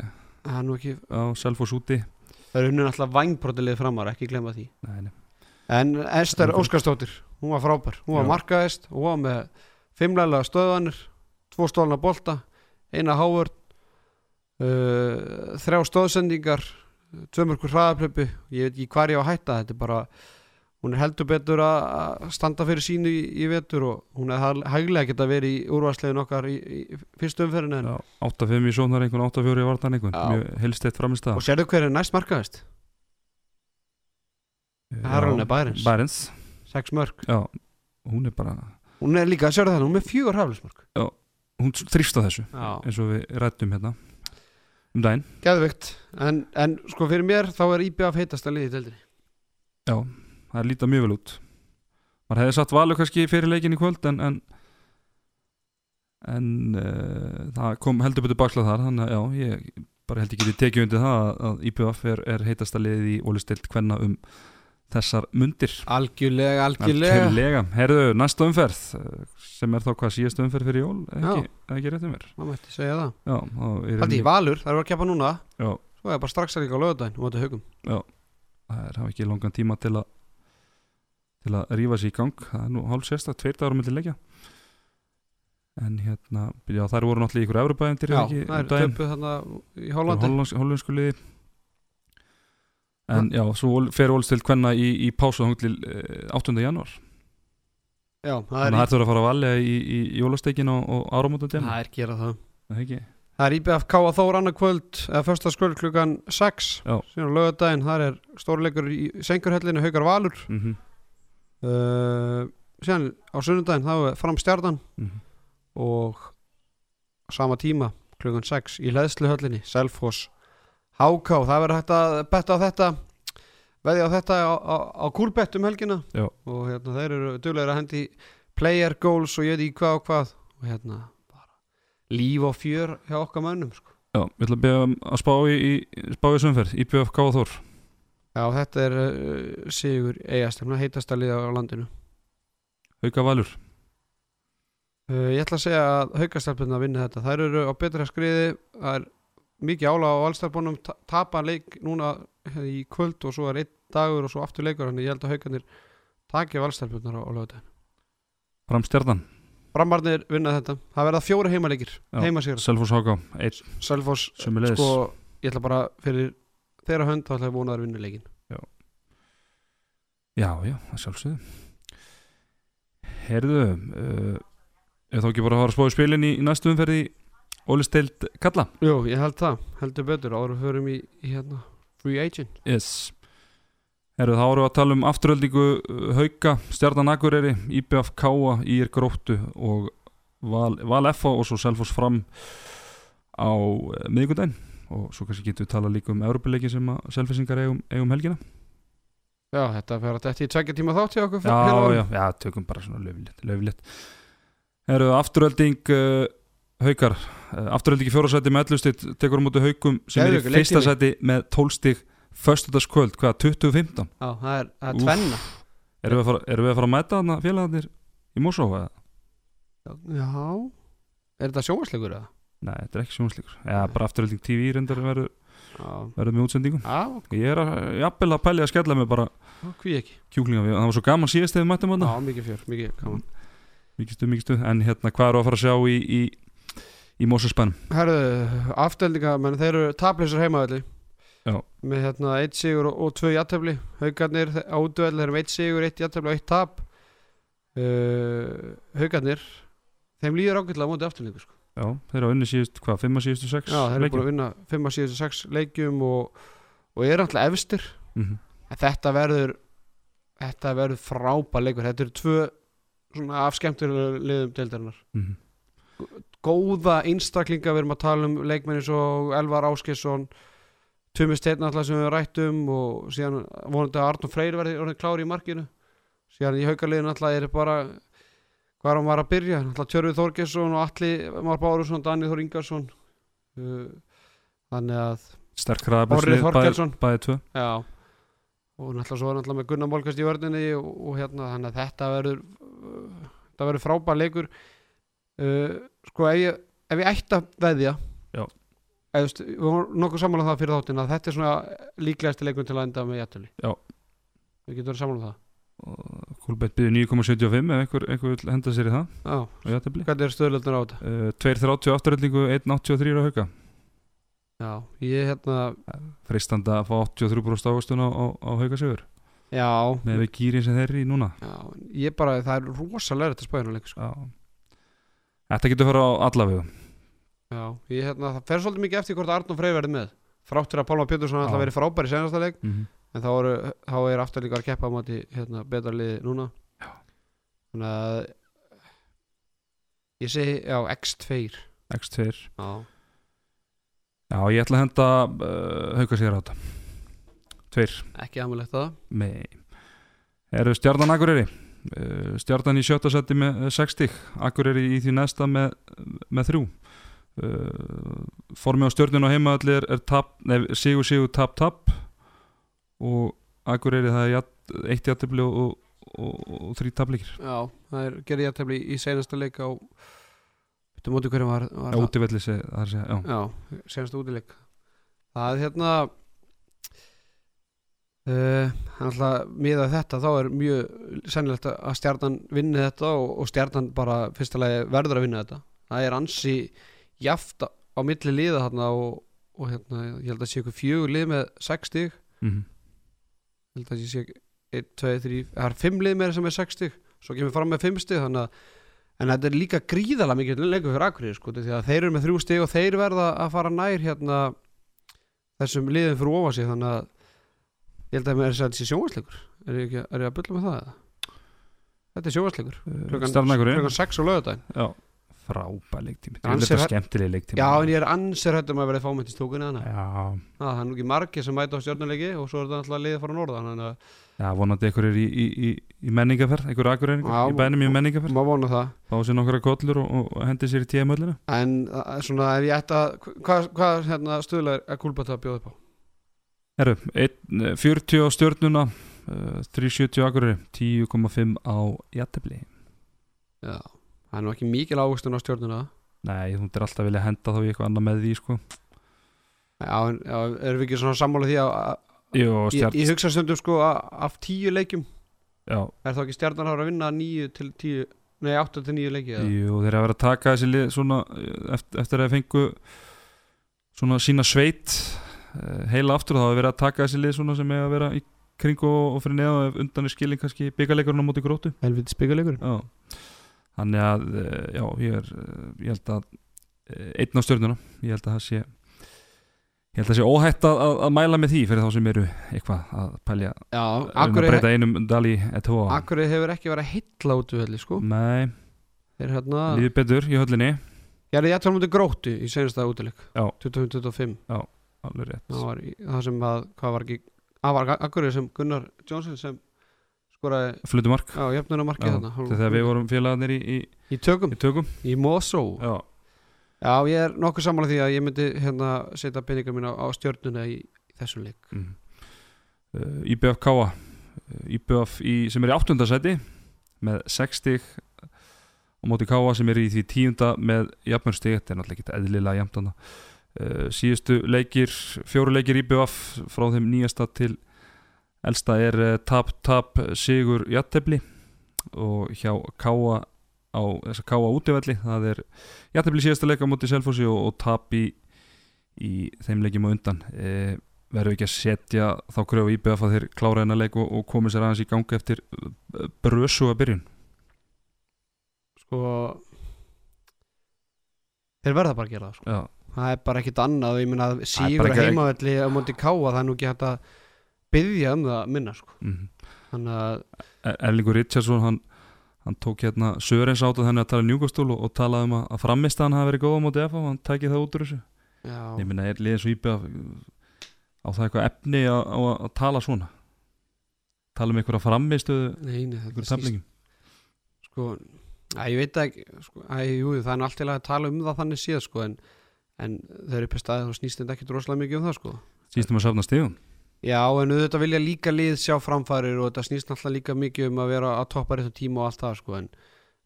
S3: það er nú ekki,
S2: á Selfoss úti
S3: það er hunnin alltaf vangbrotilið framar, ekki glemma því.
S2: Nei, nei,
S3: En Ester
S2: Ok.
S3: Óskarsdóttir, hún var frábær, hún var
S2: Já.
S3: markaðist, hún var með fimmlega stöðanir, tvo stólna bolta, eina hávörn, uh, þrjá stóðsendingar, tvömörkur hraðaplöpu, ég veit ekki hvar ég á að hætta, þetta er bara, hún er heldur betur að að standa fyrir sínu í, í vetur og hún er hæglega geta verið í úrvarslegin okkar í, í fyrstu umferðinu en
S2: já, 8-5 í sónar einhvern, 8-4 í vartan einhvern
S3: Já.
S2: mjög helst eitt framist
S3: Og sérðu hver er næst markaðist? Það er hún er Bærens,
S2: Bærens,
S3: sex mörg
S2: já, hún er bara
S3: Hún er líka, sérðu það, hún er með fjögur haflismörg
S2: hún þrýst á þessu,
S3: Já,
S2: eins og við rættum hérna um daginn
S3: geðvikt en, en sko fyrir mér þá er IBF heitasta liðið í deildinni
S2: Já, það er lítið mjög vel út maður hefði satt valur kannski fyrir leikin í kvöld en en, en uh, það kom heldur betur bakslað þar þannig að já, ég bara held ekki við tekið undir það að- að IPF er, er heitasta liðið í ólistilt hvenna um þessar mundir
S3: Algjörlega,
S2: Algjörlega. Herðu, næsta umferð eh, sem er þá hvað síðasta umferð fyrir jól eða ekki, eða ekki rétt um mér
S3: Það mætti segja það
S2: Já, þá er
S3: Haldi,
S2: rauninni-
S3: Valur, það eru að keppa núna
S2: Já.
S3: Svo er bara strax að líka á lögudaginn og þetta haugum
S2: það er hafa ekki langan tíma til að til að rífa sér í gang það er nú hálf sérsta, tveir dagar mellir leikja en hérna já, þær voru náttúrulega í ykkur Evropaðindir
S3: Já, það er töpuð þarna í Hollandi
S2: um hollensku liði en já, svo ól- fer Ólstil hvenna í, í pásu þang til eh, 8. janúar
S3: Já, það
S2: þannig að
S3: er,
S2: það þurfa að fara að valja í, í, í jólasteikin og, og áramótandjum
S3: það er gera það
S2: ekki
S3: Það er IBF K að Þór annað kvöld eða föstaskvöld klukkan 6
S2: Já.
S3: síðan á lögudaginn, þar er stórleikur í Sengurhellinu, Haukar Valur
S2: mm -hmm.
S3: uh, síðan á sunnudaginn þá er fram stjarnan
S2: Mm -hmm.
S3: og á sama tíma klukkan 6 í leðsluhöllinni, Selfoss Háká, það verður hægt að betta á þetta veðja á þetta á, á, á kúlbett um helgina
S2: Já.
S3: og hérna, þeir eru duglegur að hendi player goals og ég veit ekki hvað og hvað og hérna bara líf og fjör hjá okkar mönnum sko.
S2: já, við ætlum að beða um að spá í, í spá í sömferð, IPF Káþór
S3: Já, þetta er uh, Sigur Eyjastefna, heitasta liða á landinu
S2: Hauka Valur
S3: Uh, ég ætla að segja að haukastelpunna vinna þetta. Þær eru á betra skriði, það er mikið álag á allstelpunum, tapa leik núna eh, í kvöld og svo er einn dagur og svo aftur leikur, þannig ég held að haukarnir taki valstelpunnar á, á lögutæðin.
S2: Framstjarnan,
S3: Frammarnir vinna þetta. Það verða fjóra heimaleikir,
S2: Já.
S3: heimasýra.
S2: Selfos Háká, einn
S3: Selfoss,
S2: sömulegis
S3: sko, ég ætla bara fyrir þeirra hönd þá ætla ég vona að vinna leikin.
S2: Já, já, það sjálfsögðu Herðu uh, Er þá ekki bara að fara að spá í spilin í, í næstu umferði Óli Steild Kalla
S3: Jú, ég held það, heldur betur, áður en við förum í, í hérna, free agent.
S2: Yes Herru, þá erum við að tala um afturöldingu uh, Hauka, Stjarnan Akureyri, IBF Káa, IR Gróttu og Val, Val FA og svo Selfoss fram á uh, miðvikudaginn og svo kannski getum við tala líka um Európileikin sem að Selfissingar eigum, eigum um helgina.
S3: Já, þetta fyrir að þetta í tveggja tíma þátt hjá okkur hérna
S2: Já, já, já, tökum bara svona löfilegt, löfilegt. Herru, afturölding uh, Haukar, uh, afturölding í fjórasæti með 11 stig, tekur á um móti Haukum sem er
S3: Geðveikur
S2: í fyrsta
S3: leiktími.
S2: sæti með 12 stig, föstudagskvöld, hvað, 2015?
S3: Já, það er, það er
S2: Úff.
S3: tvenna
S2: Erum við að fara, erum við að, fara að mæta þarna félagarnir í Mosó? eða?
S3: Já, er þetta sjóasleikur eða?
S2: Nei, þetta er ekki sjónslíkur. Já, bara afturölding TV reyndar verður,
S3: Já,
S2: verður með útsendingum.
S3: já,
S2: Ég er að, jafnvel að pæli að skella mig bara
S3: hví ekki
S2: kjúklinga við. Það var svo gaman síðast þegar við mættum
S3: Já,
S2: þarna.
S3: mikið fjör, mikið gaman
S2: Mikið stuð, mikið stuð. En hérna, hvað eru að fara að sjá í, í, í Mosó-spennum?
S3: Mm. Herðu, aftöldinga, menn þeir eru taplausar heimavelli
S2: Já.
S3: Með hérna eitt sigur og, og tvö játtöfli Haukarnir þe- á útöfell þeir eru með eitt sigur, eitt játtöfli og eitt tap uh, Haukarnir Þeim líður ágætlega á móti aftöldingu sko.
S2: Já, þeir eru að unni síðust, hvað, fimm að síðustu sex?
S3: Já, þeir eru búin að vinna 5 að síðustu 6 leikjum og, og eru alltaf efstir
S2: Mm -hmm.
S3: En þetta verður þetta verður frábær leikur þetta eru tvö svona afskemmtilega liðum deildarinnar
S2: mhm.
S3: góða einstaklinga við erum að tala um leikmenni svo Elvar Áskesson Tumi Steinn alltaf sem við rættum og síðan vonandi að Arnur Freyr verði orðið klári í markinu síðan í haukaliðin alltaf er bara hvað er hann var að byrja alltaf Tjörfi Þorgesson og Atli Már Bárusson Danið Þór Ingarsson Uh, þannig að
S2: Sterk
S3: Orri
S2: hraðabæslið, bæði,
S3: Þorkelsson
S2: bæði tvö.
S3: Já og náttúrulega svo er náttúrulega með Gunnar Málkast í vörninni og, og hérna þannig að þetta verður uh, þetta verður frábær leikur uh, sko ef ég, ef ég ætti að veðja
S2: Já.
S3: eða, þú veist, við vorum nokkuð sammála um það fyrir þáttin að þetta er svona líklegasti leikur til að enda með jættuli
S2: Já.
S3: við getum verið sammála um það
S2: Kúlbeitt byrju 9,75 ef einhver, einhver vill henda sér í það.
S3: Já.
S2: Og játtabli.
S3: hvernig er stöðlöldin á þetta?
S2: Uh, 2.30 afturöldingu, 1.83 á hauka.
S3: Já, ég hérna
S2: freistandi að fá 83% águstun á, á, á hauka sigur
S3: já,
S2: með við gýrin sem þeir eru í núna
S3: já, ég bara það er rosalega þetta spæðinu leikur sko.
S2: Já. Þetta getur fara á allavegu
S3: já, ég hérna það fer svolítið mikið eftir hvort Arnum Freyr verði með þráttur að Pálma Pétursson
S2: Já.
S3: alltaf verið frábær í senasta leik
S2: mm -hmm.
S3: en þá, eru, þá er afturlíkar að keppa á móti hérna, betra liði núna
S2: Já.
S3: þannig að ég segi já, X2 já,
S2: X2 Já, ég ætla að henda uh, hauka sigur á þetta Tveir
S3: ekki amalegt það
S2: Nei Eru stjarnan Akureyri uh, Stjarnan í sjötta seti með eh, sex stík Akureyri í því næsta með, með þrjú uh, Formi á stjörnun og heimaðallir er tap, nef, sigur sigur tap tap og Akureyri það er jat, eitt jættibli og, og, og, og þrý tapleikir
S3: já, það er, gerði ég tefli í senasta leik á þetta móti hverjum var, var
S2: Já, útivelli seg, það er að segja, já,
S3: já, senasta útileik það er hérna uh, alltaf miða þetta þá er mjög sennilegt að stjarnan vinni þetta og, og stjarnan bara fyrsta lagi verður að vinna þetta það er ansi jaft á milli liða þarna og, og hérna, ég held að sé ykkur fjögur lið með 6 stig ég
S2: mhm,
S3: held að ég sé 1, 2, 3, það er 5 lið með sem er 6 stig svo kemur fram með 5 stig þannig að en þetta er líka gríðalega mikið leikur fyrir Akureyri sko, því að þeir eru með 3 stig og þeir verða að fara nær hérna þessum liðum fyrir ofa sig þannig að ég held að mér er að þetta sé sjónvarsleikur er ég, ekki, er ég að bulla með það eða? Þetta er sjónvarsleikur
S2: mm.
S3: klukkan-
S2: Stjarnan Akureyri
S3: klukkan 6 á lögadaginn
S2: Já, frábæ leiktími
S3: Hann
S2: Þetta er
S3: sér-
S2: þetta skemmtileg leiktími
S3: Já, en ég er ansir hættum að verða fámætt í stókunni hana.
S2: Já,
S3: Það er nú ekki margir sem mæta á stjórnuleiki og svo er þetta alltaf liðið frá norðan. Þannig að
S2: já, vonandi einhver er í, í, í, í menningaferð, einhver akureyringur
S3: Já,
S2: í bænum í menningaferð
S3: maður vona það.
S2: fá sér nokkra kollur og, og hendi sér í tíðamöllina
S3: En að- svona ef ég ætti að, hva- hvað hva, hérna, stuðlega er Kúlbata að bjóða upp á?
S2: Herru, einn, eh, 40 á stjörnuna uh, 370 akureyri 10,5 á jættibli
S3: Já, það er nú ekki mikil águstun á stjórnuna.
S2: Nei, þú myndir alltaf vilja henda þá í eitthvað annað með því sko.
S3: Já, en já, erum við ekki svona sammála því að, að
S2: Jú, og
S3: ég,
S2: stjarn
S3: ég hugsa stundum sko að af tíu leikjum
S2: já,
S3: er þá ekki stjarnar að vinna nýju til tíu, nei, átta til nýju leiki eða?
S2: Jú, þeir eru að vera að taka þessi lið svona, eh, eftir, eftir að þeir fengu svona sína sveit eh, heila aftur þá hefur verið að taka þessi lið svona sem er að vera í kringu og, og fyrir neða og ef undan er skilin kannski byggaleikurinn á móti grótu
S3: Helviti spikuleikur.
S2: Já, þannig að eh, já, ég er, eh, ég held að eh, einn á stjörnuna, ég held að það sé Ég held að sé óhætt að, að, að mæla með því fyrir þá sem eru eitthvað að pælja
S3: Já,
S2: um að
S3: Akurey,
S2: breyta einum Dali Eto'o
S3: Akurey hefur ekki verið að heilla út úr höllu sko
S2: Nei,
S3: Þeir hérna
S2: líður betur í höllinni
S3: Ég er jættur á mútið gróttu í senasta útileik
S2: Já.
S3: 25-25
S2: Alveg rétt
S3: Það var í, það sem að, hvað var ekki Það var Akurey sem Gunnar Johnson sem skoraði
S2: Flutumark
S3: á jöfnunamarkið
S2: Já,
S3: þarna
S2: Þegar við vorum félagarnir í, í,
S3: Í tökum,
S2: í tökum
S3: í Mosó
S2: Já,
S3: Já, ég er nokkuð sammála því að ég myndi hérna setja peningar mín á, á stjörnuna í, í þessum leik
S2: mm. uh, IBF Káa IBF Eh, í, sem er í áttundasæti með 6 stig og móti Káa sem er í því tíunda með jafnmörg stig, þetta er náttúrulega ekki eðlilega jafntana uh, síðustu leikir fjóru leikir IBF frá þeim nýjasta til elsta er uh, tap tap sigur jattefli og hjá Káa á þess að Káa útivelli það er jattefli síðasta leika móti Selfossi og, og tap í, í þeim leikjum á undan uh, verðum við ekki að setja þá kröfu íbjöf að þeir klára hennar leik og, og komið sér aðeins í gangi eftir brösu að byrjun
S3: Sko Þeir verða bara að gera það sko
S2: Já,
S3: Það er bara ekkit annað og ég meina að
S2: er
S3: sígur
S2: bara
S3: að
S2: ekki-
S3: heimavelli á móti káa það er nú ekki hægt að byggja um það minna sko.
S2: mm -hmm.
S3: Þannig að
S2: E, Erlingur Richardson hann, hann tók hérna Sörens át að henni að tala njúkastúl og, og talaði um að, að framist hann hafi verið góða móti F og hann tæki það út úr þessu Ég
S3: já,
S2: meina, er liðin svo íbjöf á það eitthvað efni að, á að, að tala svona tala um einhverja framistuðu
S3: neini þetta
S2: einhverjum taflingum
S3: sko, að ég veit það ekki sko, að jú, það er nú allt til að tala um það þannig síðan sko, en, en þau eru pest að þá snýst þetta ekki droslega mikið um það sko.
S2: Sístum að safna stíðum
S3: Já, en auðvitað vilja líka lið sjá framfærir og þetta snýst náttúrulega líka mikið um að vera að toppa réttum tíma og allt það sko, en,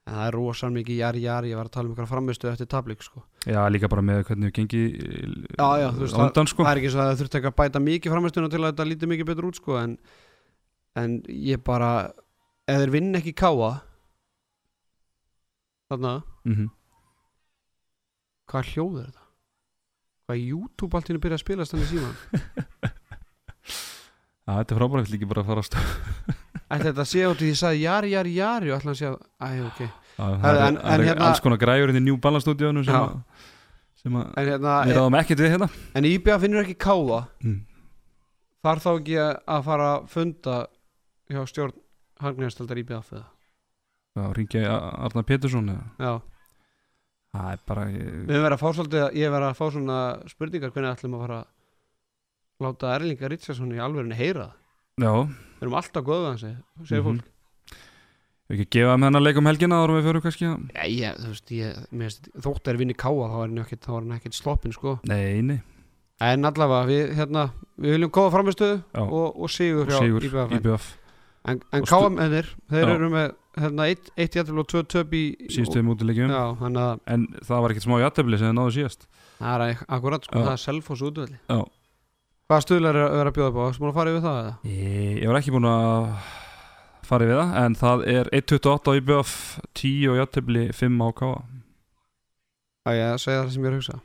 S3: en það er rosan mikið jari jari, ég var að tala um ykkur framistu eftir tablik sko.
S2: Já, líka bara með hvernig við gengi
S3: Já, já, þú veist,
S2: undan, sko.
S3: það er ekki svo að það þurfti ekki að bæta mikið framistuna til að þetta líti mikið betur út sko en, en ég bara ef þeir vinn ekki káa þarna
S2: mm
S3: hvað hljóð er þetta? hvað er YouTube allt hérna byrja að spilast þannig síma
S2: Já, þetta er frábært líka bara að fara á stöð
S3: ætti þetta að sé út í því að ég sagði jari, jari, jari og ætla að sé að, æ, ok
S2: Já,
S3: Herðu,
S2: Það er,
S3: en-
S2: það
S3: en
S2: er
S3: hérna-
S2: alls konar græjur inn í New Balance stúdíónu sem,
S3: Já.
S2: að, sem að
S3: en hérna,
S2: við ráðum ekkert við hérna
S3: en IBF vinnur ekki káa
S2: Mm.
S3: þarf þá ekki að- að fara að funda hjá stjórn hangnægastaldar IBF eða?
S2: Já, ringi Arnar Pétursson eða-
S3: já
S2: Það er bara ég,
S3: Við höfum verið að fá svolítið, ég hef verið að fá svona spurningar hvernig ætlum að fara að láta Erlinga Ritsarsson í alvegurinn heyra það.
S2: Já,
S3: Við erum alltaf góðið hans, segir
S2: Mhm.
S3: fólk.
S2: við ekki að gefa með hennar leikum um helgina árum við förum kannski að
S3: Já, ég, þú veist, ég, mér veist, þótt er vinni káa, þá er hann ekkit, þá er hann ekkit sloppin, sko.
S2: Nei, nei,
S3: En allavega, við, hérna, við viljum góða framistuðu
S2: Já.
S3: og, og sigur
S2: og
S3: hjá
S2: Sigur,
S3: IBFN.
S2: IBF
S3: En, en
S2: Og stu-
S3: káa mennir, þeir
S2: Já.
S3: eru með, hérna, eitt, eitt jættil og tvö töp í...
S2: síðustu mútilegjum
S3: Já, þannig að
S2: En það var ekkert smá játefli sem það náðu síðast
S3: það er akkurat, sko,
S2: Já.
S3: það er selfos útvelli.
S2: Já.
S3: Hvaða stuðlar er að vera að bjóða upp á? Ertu búin að fara yfir það eða?
S2: Ég, ég var ekki búinn að fara við það En það er 1.28 á IBF 10 á játefli, 5 á KA
S3: að ég að segja það sem ég er að hugsa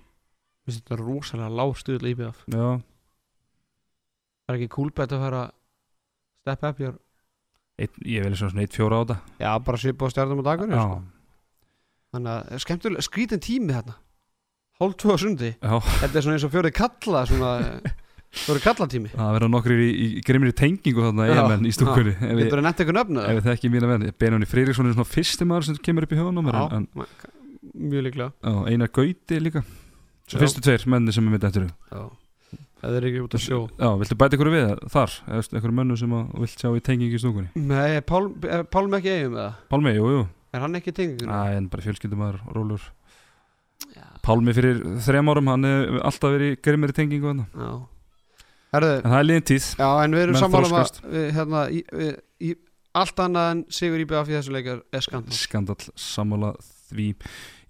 S3: Mér finnst þetta rosalega lág stuðl í IBF
S2: Já,
S3: Það er ekki kúlbett að fara step up hér
S2: eitt, ég vil svona 1.4 á þetta
S3: Já, bara svipa á stjarnum á dagur
S2: Já,
S3: Þannig að skemmtilega, skrítin tími þarna Hálf tvö á sundi
S2: já
S3: Þetta er svona eins og fjórið kalla svona, eh, Fjórið kalla tími
S2: Það verða nokkrir í, í grimmir tengingu þarna
S3: Já.
S2: EM-menn í stúkunni ef ég,
S3: Getur það nefnt eitthvað nöfnu?
S2: ef ég þekki mína venn Benóni Freyriksson er svona fyrsti maður sem kemur upp í höfun á mér en, en
S3: Já, mjög líklega
S2: á, Einar Gauti líka Svo
S3: Já.
S2: fyrstu tveir menni sem er mitt eftir þau.
S3: Já Það er ekki út að sjó
S2: Já, viltu bæta ykkur við þar? Eða ykkur mönnu sem að þú vilt sjá í tengingu í stúkunni
S3: Nei, er Pálm, er Pálm ekki eigum með það?
S2: Pálmi, jú, jú
S3: Er hann ekki tengingun?
S2: Æ, en bara fjölskyldumæður, rólur
S3: Já.
S2: Pálmi fyrir þrem árum, hann er alltaf verið í grimmir tengingu þarna
S3: Já Herðu,
S2: En það er liðin tíð
S3: Já, en við erum
S2: Menn
S3: sammála um að
S2: þroskast.
S3: við, hérna, í, við, í, allt annað en Sigur IBF í þessu leikar er skandal
S2: skandal sammála því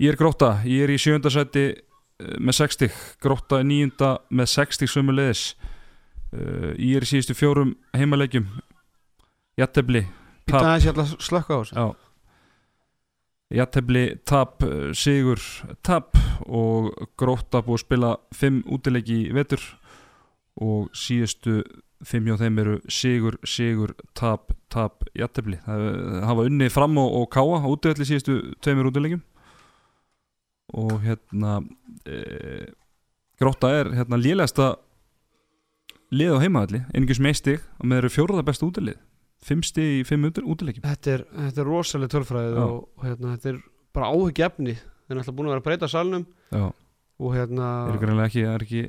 S2: ég er gróta, ég er í sjöndasæti með 60, gróta er nýjunda með 60 sömulegis uh, ég er í síðustu fjórum heimaleikjum jattefli,
S3: Býta
S2: tap
S3: aðeins ég ætla að slökka á þessu
S2: Já. jattefli, tap uh, sigur, tap og gróta búið að spila 5 útileiki í vetur og síðustu 5 hjá þeim eru sigur, sigur, tap, tap, jattefli það eh, hafa unnið fram og, og káa á útivelli síðustu tveimur útileikjum og eh, hérna e, gróta er hérna lélegasta lið á heimaðalli, einingis með eitt stig og með eru fjóraða besta útilið fimm stig í fimm útilegjum
S3: þetta er, þetta er rosalega tölfræðið
S2: Já.
S3: og, og hérna, þetta er bara áhugjefni þeir eru alltaf búin að vera að breyta salnum
S2: Já,
S3: og hérna
S2: eru greinlega ekki það er ekki,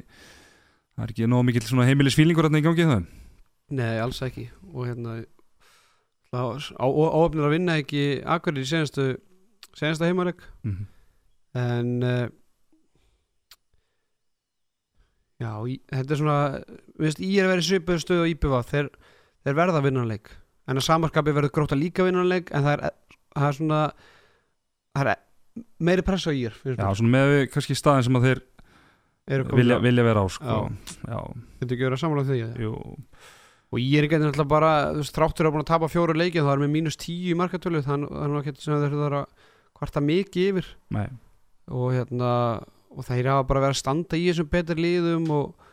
S2: það er ekki nóg mikill svona heimilisfílingur þarna í gangi það
S3: nei, alls ekki og hérna áöfnir að vinna ekki akkurir í senastu senasta heimaleg
S2: mm -hmm.
S3: en uh, já, í, þetta er svona viðst, ég er að vera í svipuðu stöðu á IPV þeir, þeir verða vinnanleik en að samarskapi verður gróta líka vinnanleik en það er, það er svona það er e- meiri pressa á ír
S2: Já, svona með við kannski staðin sem að þeir vilja, vilja vera á sko. Já,
S3: þetta ekki verið að samanlega því já.
S2: jú,
S3: og ég er ekki náttúrulega bara þú veist, þráttur að búin að tapa fjóru leiki það er með mínus tíu í markatölu þannig að það er nú ekkert sem þeir þurfa að kvarta mikið yfir
S2: nei,
S3: og hérna og þeir hafa bara verið að standa í þessum betur liðum og,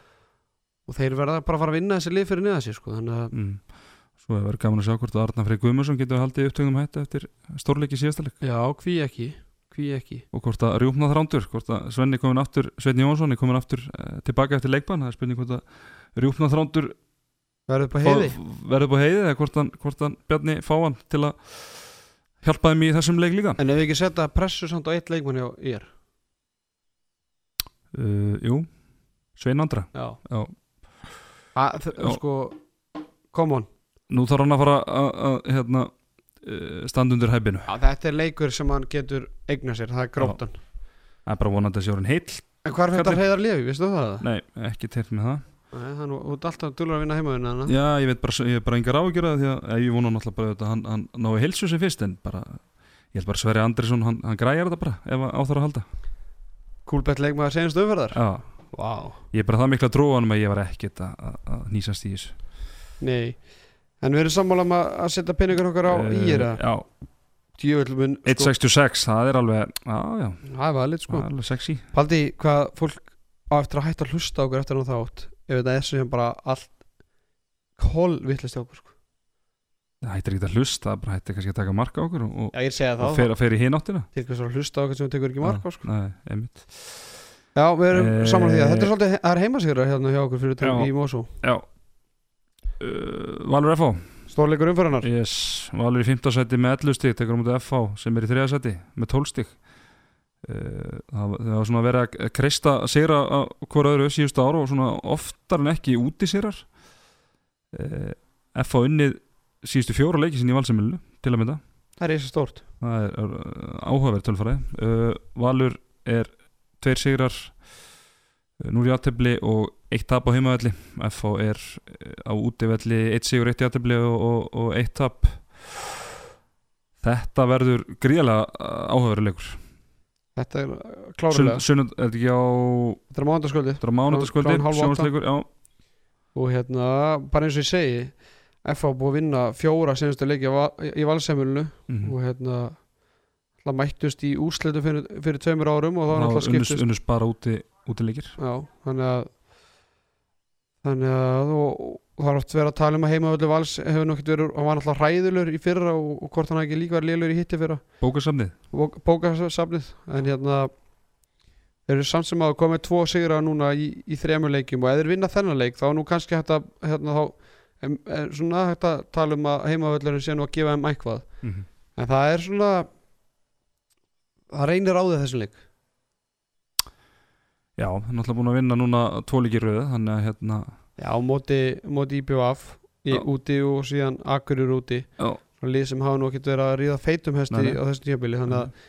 S3: og þeir verða bara að fara að vinna þessi lið fyrir neða sér sko þannig að
S2: mm. Svo hefur verið gaman að sjá hvort að Arna Frey Guðmundsson getur haldið upptögnum hætti eftir stórleiki síðastaleg
S3: já, hví ekki, hví ekki
S2: og hvort að rjúpna þrándur, hvort að Svenni komin aftur, Svenni Jónsson er komin aftur uh, tilbaka eftir leikbann, það er spurning hvort að rjúpna þrándur
S3: verður upp á heiði
S2: fá- verður upp á heiði eða hvort hann, hvort hann Bjarni fá hann til að hjálpa þeim í þessum leik líka
S3: en ef við ekki setja pressu samt á eitt leikmann hjá ég
S2: uh, Jú, Svein Andra
S3: já,
S2: Já.
S3: Að, þ-
S2: Já.
S3: sko come on,
S2: Nú þarf hann að fara að, að hérna, uh, standa undir hæpinu
S3: já, þetta er leikur sem hann getur eigna sér, það er gróttan
S2: Það er bara vonandi að sé orðin heill
S3: en hvað er þetta
S2: Hvernig-
S3: heiðar liði, veistu það?
S2: Nei, ekki teilt með það
S3: Nei, hann var út alltaf dúlur að vinna hérna, heimaðina hana
S2: Já, ég veit bara, ég hef bara engar áhyggjur af því að eða, ég vona náttúrulega bara að hann, hann nái heilsu sem fyrst en bara, ég held bara Sverri Andrisson hann, hann græjar þetta bara ef að- á þar að halda
S3: kúlbett leikmaður senast umferðar
S2: Já,
S3: wow.
S2: ég er bara það mikla trúanum að ég var ekkit að, að, að nýsast í þessu
S3: nei, en við erum sammála um að að setja pinningur okkar á
S2: Eh,
S3: uh, íra
S2: Já,
S3: djöfullum
S2: 166, það er alveg, já, já,
S3: sko, Það er valið sko
S2: það er alveg sexy
S3: Paldi hvað fólk á eftir að hætta að hlusta á okkur eftir hann þátt ef þetta er sem bara allt kól vittlist okkur sko
S2: Það hættir ekki að hlusta, það bara hættir kannski að taka marka okkur og, og,
S3: Já ég segja
S2: og fer, fer í hinn áttina
S3: Til hvers að hlusta á okkur sem þú tekur ekki mark á sko
S2: Nei, einmitt
S3: Já við erum
S2: Eh,
S3: saman því að þetta er svolítið það er heimasýra hérna hjá okkur fyrir
S2: Já.
S3: tök í Mosó
S2: Já uh, Valur FH
S3: Stórleikur umfyrirnar
S2: Yes, Valur í 15 seti með 11 stík tekur á mútið FH sem er í 3 seti með 12 stík uh, það, það var svona verið að vera að kreista að sigra á hver öðru síðustu ára og svona oftar en ekki úti sigrar uh, FH unnið síðustu fjóra leiki sinni í valsamilinu til að mynda
S3: Það er þessi stórt
S2: það er, er uh, áhugaverð tölfræði uh, Valur er tveir sigrar uh, núr í aðtefli og eitt tap á heimavelli FH er uh, á útivelli eitt sigur, eitt í aðtefli og, og, og eitt tap þetta verður gríðlega áhugaverðilegur
S3: Þetta er eh, klárlega
S2: sunnund, er þetta ekki á
S3: Þetta er mánundaskvöldi
S2: þetta er á mánudaskvöldi,
S3: Klukkan hálf átta.
S2: sjónsleikur já,
S3: og hérna bara eins og ég segi FH búið að vinna fjóra senastu leiki á Va- í valsemilinu
S2: mhm.
S3: og hérna það mættust í úrslitu fyrir, fyrir tveimur árum og þá er
S2: þá
S3: alltaf
S2: unnust,
S3: skiptist
S2: unnust bara úti, útileikir
S3: já, þannig að þannig að og, og það er oft verið að tala um að heima öllu vals hefur nú ekkert verið, hann var alltaf hræðilur í fyrra og, og hvort hann hafi ekki líka verið lélur í hitti fyrra
S2: bókasamnið
S3: Bók- bókasafnið en hérna þeir eru samt sem að komið tvo sigra núna í, í þremur leikjum og ef þeir vinna þennan leik þá er nú kannski hægt að hérna, þá, em, em, svona hægt að tala um að heimavöllurinn sé nú að gefa þeim eitthvað en það er svona það reynir á því þessum leik
S2: já, hann er náttúrulega búin að vinna núna tvoleikir röðu, þannig að hérna
S3: já, á móti, móti IBF í,
S2: Já.
S3: úti og síðan Akurur úti
S2: Já.
S3: og lið sem hafa nú ekkert verið að ríða feitum hesti
S2: Nei, nei.
S3: á þessum tíabili þannig að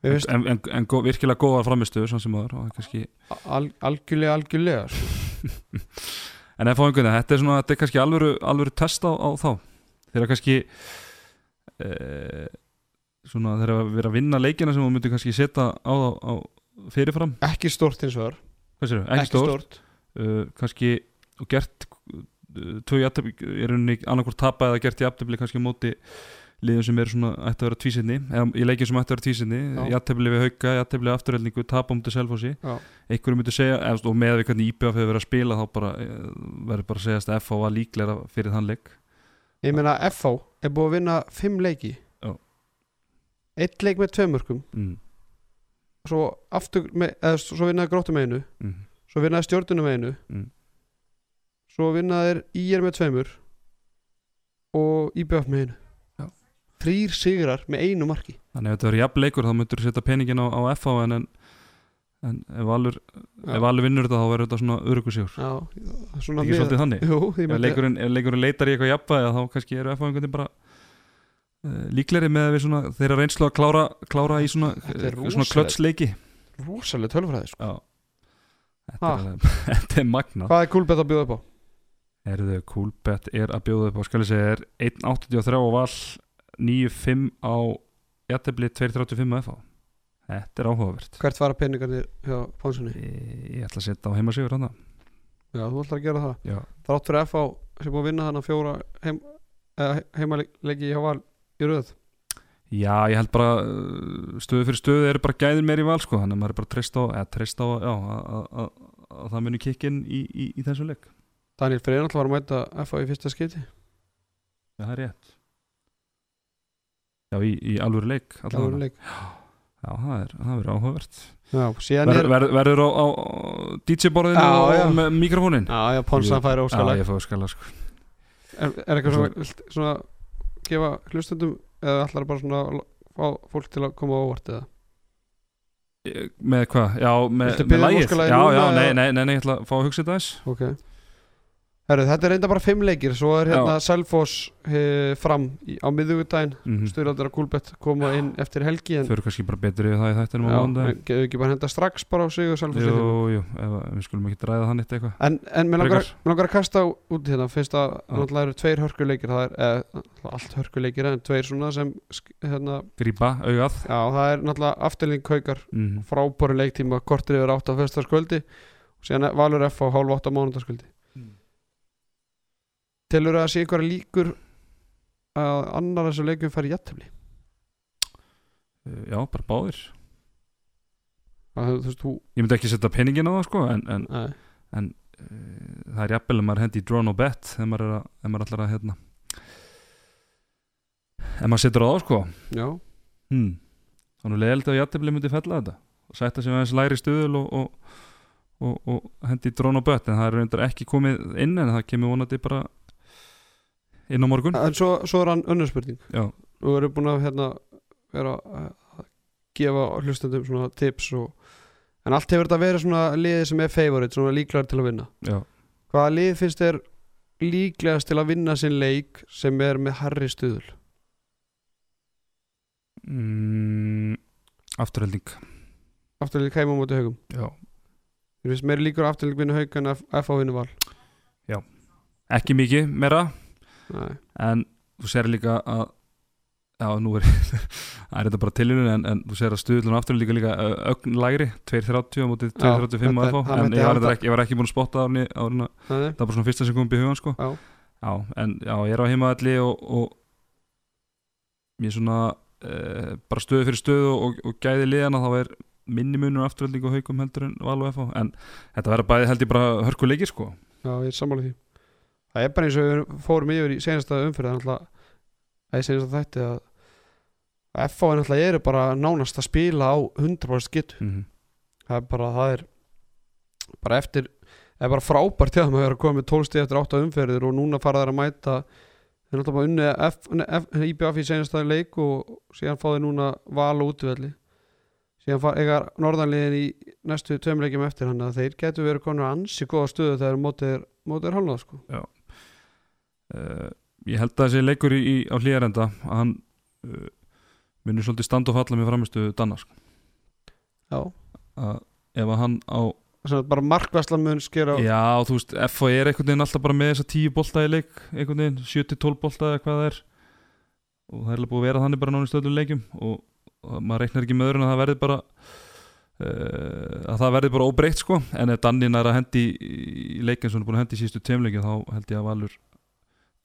S3: við veist
S2: en, en, en gó, virkilega góðar framistuðu svona sem aður kannski...
S3: al, algjörlega algjörlega sko.
S2: en ef á einhvern veginn, þetta er svona þetta er kannski alvöru, alvöru test á, á þá þeirra kannski e, svona þeirra að vera að vinna leikina sem þú myndir kannski setja á þá á fyrirfram,
S3: ekki stort eins og þar
S2: hvað sér ekki stór, Uh, kannski og gert uh, tvö jafntöfli, í rauninni annarkvort tapa eða gert jafntöfli kannski á móti liðum sem eru svona ætti að vera tvísinni eða í leikjum sem ætti að vera tvísinni
S3: Já.
S2: jafntöfli við hauka, jafntöfli afturhelningu, tapa á móti selfósi
S3: Já.
S2: einhverjum myndi segja, eða, og með við hvernig IBF hefur verið að spila þá bara, eh, verður bara að segjast að FH var líklega fyrir þann leik
S3: Ég meina FH er búið að vinna fimm leiki
S2: Já.
S3: Eitt leik með tveimörkum
S2: mm.
S3: Svo, aftur með, eða, svo vinnaði gróttum einu
S2: Mm.
S3: Svo vinnaði stjórnunum einu
S2: Mm.
S3: svo vinna þeir IR með tveimur og IBF með
S2: Já.
S3: einu þrýr sigrar með einu marki
S2: Þannig að þetta verður jafn leikur þá myndur setja peningin á, á FH en, en, en ef, Valur,
S3: Já.
S2: ef Valur vinnur þetta þá verður þetta svona örugusjór
S3: Já, svona
S2: ekki svolítið þannig
S3: Jú, ég
S2: ef
S3: myndi-
S2: leikurinn, ef leikurinn leitar í eitthvað jafnvæði þá kannski eru FH einhvern veginn bara uh, líkleri með að við svona þeirra reynslu að klára, klára í svona,
S3: Þetta er
S2: svona
S3: rosalegt.
S2: klötsleiki
S3: rosalega tölfræði sko.
S2: Já Þetta
S3: Ha.
S2: er, alveg- þetta er magna
S3: Hvað er Gulbet að bjóða upp á?
S2: Erðu Coolbet er að bjóða upp á skal ég segja er 1.83 á val 9.5 á jættefli 2.35 á FH Þetta er áhugavert
S3: Hvert fara peningarnir hjá Ponsunni?
S2: Ég ég ætla að setja á heimasíður hann
S3: Já, þú ætlar að gera það
S2: Já,
S3: Þrátt fyrir FH sem búið að vinna þannig fjóra heim, eh, heimalegi hjá Val í röð
S2: já ég held bara uh, stöðu fyrir stöðu eru bara gæðin meir í val sko, þannig að maður er bara treyst á, eða treyst á já, að, að, að, að það muni kikkin í, í, í þessu leik
S3: Daniel Freyr náttúrulega var að mæta FH í fyrsta skipti
S2: Já, það er rétt Já, í, í alvöru leik allavega.
S3: Alvöru leik.
S2: Já, það er, það verður áhugavert
S3: Já, síðan
S2: Ver,
S3: er
S2: ver, Verður á, á DJ-borðinu
S3: Já,
S2: og,
S3: já.
S2: og með mikrofónin
S3: Já, já, Ponsan færi
S2: Já,
S3: óskalag
S2: ég fóðu skala sko.
S3: er, er eitthvað svona, vilt- svona gefa hlustundum eða ætlar bara svona að fá fólk til að koma á óvart eða
S2: Ég- Með hvað? Já, með,
S3: Viltu
S2: með
S3: biðja um
S2: lagið Já,
S3: óskalagið
S2: já,
S3: núna,
S2: nei,
S3: eða?
S2: nei, nei, nei, ég ætla að fá að hugsa þetta aðeins
S3: Ok Herru, þetta er reynda bara fimm leikir Svo er hérna Selfoss eh, fram í, á miðugudaginn
S2: mm -hmm.
S3: Sturaldar og Gulbett koma inn eftir helgi en
S2: Þau eru Mhm. kannski bara betri við það í þættinum á
S3: Já, en
S2: mánudaginn.
S3: getum við ekki bara henda strax bara á sig og
S2: Jú,
S3: Selfossi
S2: jú, ef, ef við skulum ekki ræða þannig eitthvað
S3: En, en mér langar,
S2: Frekar.
S3: mér langar að kasta á- út í þetta fyrst að
S2: Já.
S3: náttúrulega eru tveir hörkuleikir það er eh, náttúrulega allt hörkuleikir en tveir svona sem sk- hérna,
S2: Grípa, augað
S3: já það er náttúrulega afturling kaukar
S2: mm.
S3: frábæru leiktíma kortir yfir átt á fyrstaskvöldi og síðan er Valur F á hálf átt á mánundaskvöldi
S2: Mm.
S3: Telur að sé einhverja líkur að annar þessu leikum fari jættumli
S2: Eh, Já, bara báðir
S3: þú veist þú
S2: Ég myndi ekki setja peningin á það sko En, en
S3: nei,
S2: það er jafnvel að maður hendi í drone og bet Ef maður, er að, ef maður allar að hérna Ef maður setur á það sko
S3: já,
S2: hmm. Þannig leðildi að jættibli myndi fella þetta Og sætta sig aðeins læri stuðul og, og, og, og hendi í drone og bet En það er reyndar ekki komið inn En það kemur vonandi bara Inn á morgun
S3: en svo, svo er hann önnur spurning
S2: Já,
S3: og erum búin að hérna vera að að gefa hlustendum svona tips og en allt hefur þetta verið svona liðið sem er favorite svona líklegar til að vinna
S2: já
S3: hvaða lið finnst þér líklegast til að vinna sinn leik sem er með harri stuðul
S2: mm, Afturhelding
S3: afturlík heima á móti haugum
S2: Já
S3: þú finnst meiri líkur afturlík vinna haug en að FH vinna val
S2: Ekki mikið meira
S3: Nei.
S2: en þú sér líka að já, nú er það er þetta bara tilhjörun en, en þú sér að stuðlun aftur líka líka ö, ögn lægri 2.30 á mótið
S3: Já,
S2: 2.35 að
S3: þetta-
S2: fá
S3: það
S2: en
S3: myndi
S2: ég var,
S3: halda.
S2: reyndar ekki, ég var ekki búin að spotta árni, árna,
S3: Nei.
S2: það var svona fyrsta sem kom upp í hugan sko.
S3: Já.
S2: já, en já, ég er á heimaðalli og, og mér svona e, bara stöðu fyrir stöðu og, og gæði liðana þá er minni munur afturölding og haukum heldur en val og FH en þetta verður bæði held ég bara hörkuleikir sko
S3: Já, ég er sammála því Það er bara eins og við fórum yfir í senasta umferð þannig að það er senasta þætti að að FH er náttúrulega eru bara nánast að spila á 100% getu
S2: mm -hmm.
S3: það er bara, það er bara eftir, það er bara frábært til að maður er að koma með 12 stíð eftir 8 umferðir og núna fara þær að mæta þeir náttúrulega bara unni F, nei, F, IBF í senasta leik og síðan fá þeir núna val og útvelli síðan fara eiga norðanliðin í næstu tveim leikjum eftir hann að þeir getur verið konur ansi góða stöðu þegar mótið er, mótið er hálnað sko
S2: uh, ég held að þessi leikur í, í, á hlýjarenda að hann uh, minnur svolítið stand og falla með framistu Danna sko.
S3: já,
S2: að ef að hann á
S3: þannig að bara markvæslan mun skera
S2: já, þú veist, FH er einhvern veginn alltaf bara með þessa 10 bolta í leik einhvern veginn, 7-12 bolta eða hvað það er og það er alveg búið að vera þannig bara nánast öllum leikjum og, og maður reiknar ekki með öðrun að það verði bara uh, að það verði bara óbreytt sko en ef Dannin er að hendi í, í leikin sem hann er búin að hendi í sístu teimleiki þá held ég að Valur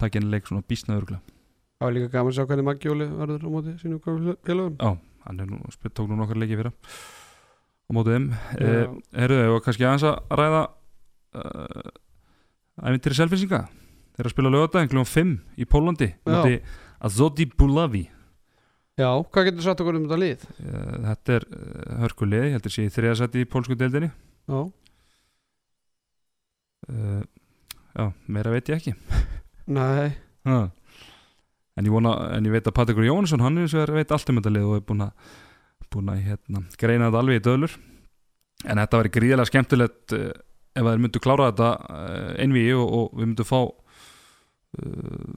S2: takja henni leik svona bísna örgla
S3: það var líka gaman að sjá hvernig Maggi Óli verður á móti sínum félagum
S2: hann er nú, spil- tók nú nokkar leikið fyrir á mótið þeim
S3: Já.
S2: eh, Herruðu, og kannski aðeins að ræða uh, æfintýri selfinsinga þeir eru að spila lögadaginn kljóðan 5 í Pólandi
S3: Já.
S2: móti Azodi Bulavi
S3: já, hvað getur sagt okkur um þetta lið?
S2: uh, þetta er uh, hörkulið, ég heldur sé í þriðasætti í pólsku deildinni
S3: já,
S2: uh, já, meira veit ég ekki
S3: Nei,
S2: ha. en, ég vona, en ég veit að Patrik Jónsson hann er, vegar veit allt um þetta lið og er búin að búin að hérna, greina þetta alveg í döðlur en þetta væri gríðilega skemmtilegt eh, ef að þeir myndu klára þetta eh, einvigi E og, og við myndu fá uh,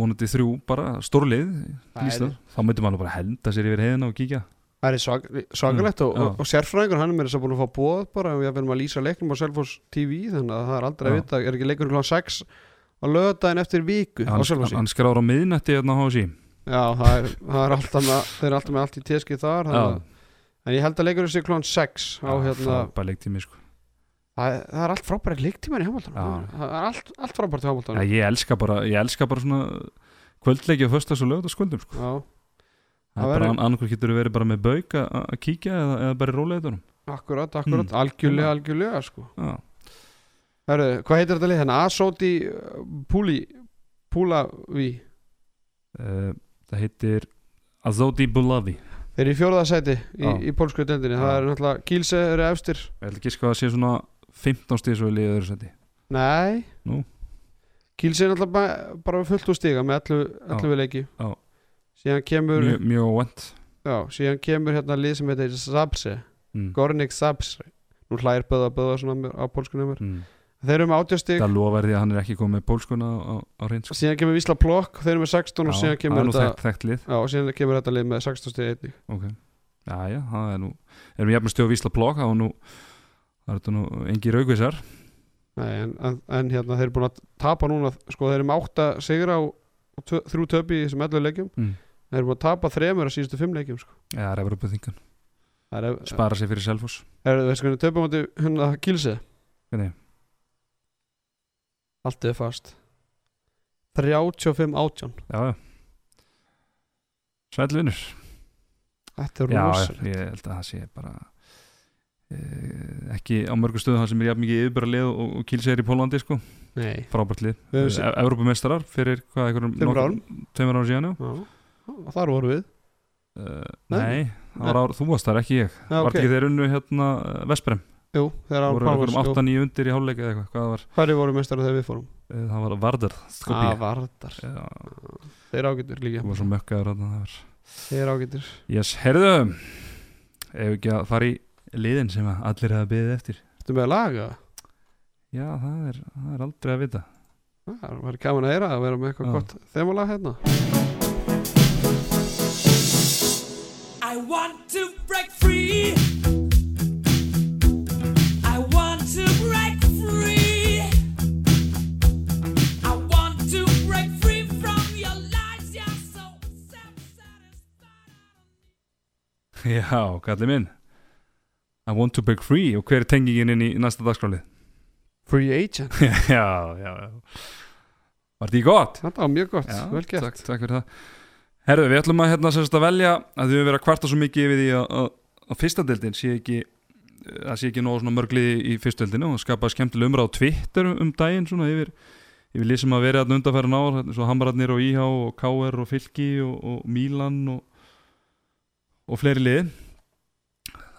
S2: vonandi þrjú bara stórlið
S3: það
S2: Ísland,
S3: er-
S2: þá myndum maður bara henda sér yfir heiðina og kíkja
S3: það er svag, svakalegt
S2: Mm,
S3: og,
S2: já.
S3: og, og sérfræðingur hann er mér þess að búin að fá bóð bara og ég verðum að lýsa leiknum á Selfoss TV þannig að það er aldrei að
S2: Já.
S3: vita, er ekki leikur klá 6 á lögadaginn eftir viku á
S2: hann,
S3: Selfossi
S2: hann skráður á miðnætti hérna á HSI
S3: Já, það er, það er alltaf með, þeir eru alltaf með allt í teski þar þannig
S2: Já,
S3: að- en ég held að leikur þessi klón 6 á hérna
S2: bara leiktími sko
S3: það, það er allt frábæri leiktíman í hámaldunum
S2: Já.
S3: það er allt, allt frábært í
S2: ja,
S3: hámaldunum
S2: ég, elska bara, ég elska bara svona kvöldleiki á föstags og lögðaskvöldum sko.
S3: Já, Það
S2: Það er bara
S3: verður-
S2: an- annarkur getur verið bara með bauk að- að kíkja eða, eða bara í róleitunum
S3: akkurat, akkurat,
S2: Mm.
S3: algjörlega, algjörlega sko.
S2: Já,
S3: Herru, hvað heitir þetta lið hérna? Asóti Púli Púlaví
S2: uh, það heitir Azoti Bulavi
S3: Þeir eru í fjóruða sæti í,
S2: Já.
S3: í pólsku deildinni Það
S2: Já.
S3: eru náttúrulega Kílse eru efstir
S2: Ég held ekki sko að það sé svona 15 stíð svo í liðið öðru seti
S3: Nei
S2: Nú.
S3: Kílse er náttúrulega bara, bara fullt úr stiga með 11
S2: Já.
S3: 11 leiki
S2: Já.
S3: Síðan kemur
S2: Mjög, mjög óvænt
S3: Já, síðan kemur hérna lið sem heitir Zabse
S2: mm.
S3: Gornik Zabse Nú hlægir Böða Böða svona mér, á pólsku nefnir
S2: mm.
S3: Þeir eru með 80 stig
S2: Það lofar því að hann er ekki komið með pólskuna á, á, á reynd sko.
S3: Síðan kemur Vísla Plokk Þeir eru með 16 og
S2: Já,
S3: síðan
S2: það er
S3: kemur
S2: nú
S3: þetta
S2: þekkt, þekkt lið
S3: Já, og síðan kemur þetta lið með 16 stig einnig
S2: okay. Já, já, það er nú Erum við jafnum stjóð Vísla Plokk Það er nú, það er þetta nú engi raukvisar
S3: Nei, en, en, en hérna þeir eru búin að tapa núna sko þeir eru með 8 sigra og, og tvö, þrjú töpi í þessum 11 leikjum
S2: Mm.
S3: þeir eru búin að tapa þremur á síðustu 5 leikjum sko.
S2: Já, það er Evropa þingan
S3: það er,
S2: Spara sér fyrir Selfoss
S3: er það sko töpum átti hérna gilsi
S2: Hvernig?
S3: allt er fast 35 átján
S2: Já, já Sæll vinnur
S3: þetta er
S2: Já,
S3: rosa
S2: já, ég held að það sé bara eh, ekki á mörgum stöðum það sem er jafn mikið yfirbara lið og, og kílsegir í Pólandi sko,
S3: nei
S2: frábært lið
S3: Við höfum séð-
S2: e Evrópumeistarar fyrir hvað einhverjum
S3: Tveimur
S2: nokkur-
S3: árum.
S2: Tveimur árum síðan, já
S3: já, og þar voru við
S2: uh,
S3: Nei.
S2: Nei, það var ár, þú varst þar, ekki ég okay.
S3: já,
S2: Vart
S3: ok
S2: ekki þeir unnu hérna Vesprem
S3: jú þeir
S2: voru einhverjum
S3: ára
S2: 8-9 undir í hálfleik eða eitthvað, hvað það var
S3: hverju voru mestar þegar við fórum
S2: Eh, það var Vardar
S3: að
S2: Skopje
S3: vardar
S2: Já,
S3: þeir ágætur líka
S2: þú var svo mökkaður þarna, það var
S3: þeir ágætur
S2: Yes, heyrðu Ef ekki að fara í liðin sem að allir hafa beðið eftir
S3: þú með að laga
S2: Já, það er, það er aldrei að vita
S3: Ah, Það var gaman að heyra að vera með eitthvað
S2: Já.
S3: gott þemalag hérna
S4: I want to break free. I want to break free. I want to break free from your lies. You're so self-satisfied.
S2: Já, kallið minn I want to break free og hver er tengingin inn í næsta dagskrálið?
S3: Free Agent,
S2: já, já, já Var því gott?
S3: þetta var mjög gott, vel gert
S2: takk, takk fyrir það Herðu, við ætlum að, hérna, sérst, að velja að við höfum verið að kvarta svo mikið yfir því að, að, að fyrsta deildin sé ekki að sé ekki nóg svona mörgliði í fyrsta deildinu og skapaði skemmtileg umræð á Twitter um daginn svona yfir yfir lýsum að vera þarna undanfæra ár þarna svo Hamrarnir og IH og KR og Fylki og, og Mílan og, og fleiri liði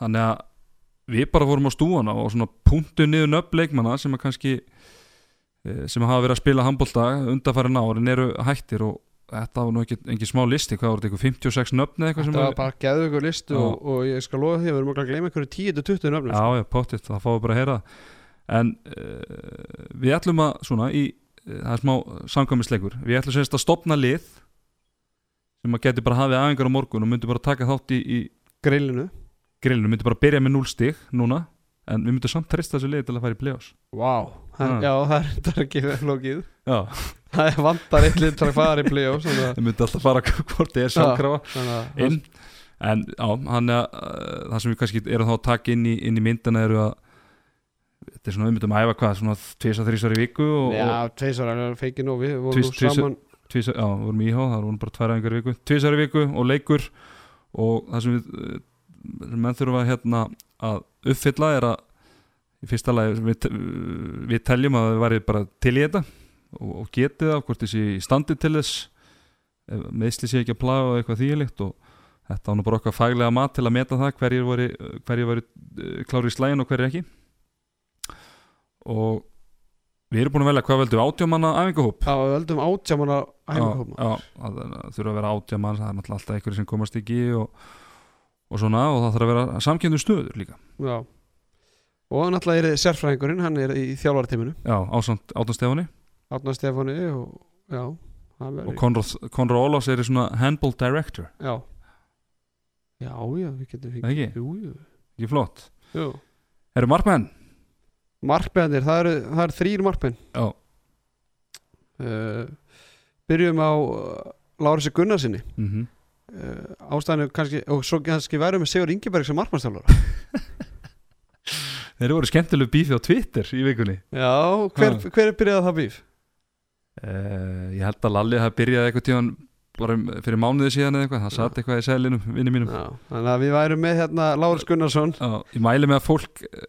S2: þannig að við bara fórum á stúana og svona punktu niður nöfn leikmanna sem að kannski eh, sem hafa verið að spila handbólta undanfærin árin eru hættir og þetta var nú ekki, ekki smá listi, hvað voru þetta, einhver 56 nöfn eða eitthvað sem
S3: Þetta var bara geðu ykkur listu
S2: Já.
S3: og, og ég skal lofa því að við erum okkur að gleyma einhverju 10-20 nöfnum
S2: Já, já, pottitt, það fáum við bara að heyra En uh, við ætlum að svona í, uh, það er smá samkvæmisleikur Við ætlum semst að stopna lið sem að geti bara hafið aðingar á morgun og myndi bara taka þátt í, í
S3: grillinu
S2: grillinu, myndi bara byrja með 0 stig núna en við myndum samt trista þessu lið til að fara í play-offs
S3: wow.
S2: Já.
S3: Já, það er þetta ekki lókið
S2: Já,
S3: Það er vantar eitt litur að fara í play-off þannig að-
S2: við myndum alltaf fara hvort þið er samkrafa
S3: þannig að
S2: inn en á, hann er uh, það sem við kannski erum þá að taka inn í, inn í myndina eru að þetta er svona, við myndum að æfa hvað, svona tvisa, þrísvar í viku og, og
S3: Já, tveisar er feikinn og við vorum
S2: Tvis-
S3: nú
S2: tvisvar-
S3: saman
S2: tvisar, já, við vorum í íhá, það voru bara tvær æfingar í viku tvisar í viku og leikur og það sem við eh, sem menn þurfa hérna að uppfylla er að í fyrsta lagi við, te- við teljum að við værið bara til í þetta og, og getið það, hvort þessi í standi til þess ef meðsli sé ekki að plaga og eitthvað þýjulíkt og þetta var nú bara okkar faglega mat til að meta það hverjir voru, eh, hverjir voru klári í slægin og hverjir ekki og Við erum búin að velja hvað veldum átjámanna æfingahóp
S3: Já, við höldum átjámana æfingahóp
S2: Já, já, það það þurfa að vera átjámann það er náttúrulega alltaf einhverjir sem komast ekki í og, og svona og það þarf að vera samkjöndu stöður líka
S3: Já Og náttúrulega er sérfræðingurinn, hann er í þjálfarteiminu
S2: Já, ásamt Átun Stefáni
S3: Átna Stefáni og já, hann verður
S2: og Konrad, Konrad Ólafs er í svona handball director,
S3: Já Já, já, við getum
S2: það ekki?
S3: Jú, jú,
S2: Ekki flott
S3: jú
S2: Eru markmenn?
S3: Markbennir, það eru, það eru þrýr markbenn
S2: Já,
S3: uh, Byrjum á uh, Lárisi Gunnarsinni
S2: mhm
S3: uh, Ástæðinu kannski, og svo kannski verðum við Sigur Ingeberg sem markmannstjálfara
S2: Þeir voru skemmtilegu bífi á Twitter í vikunni
S3: Já, hver,
S2: Ha.
S3: hver er byrjað það bíf?
S2: uh, Ég held að Lalli hafi byrjað eitthvað tíðan bara um- fyrir mánuði síðan eða eitthvað það satt eitthvað í sælinum, vinni mínum
S3: Já, þannig að við værum með hérna Lárus Gunnarsson
S2: Já, ég mæli með að fólk eh,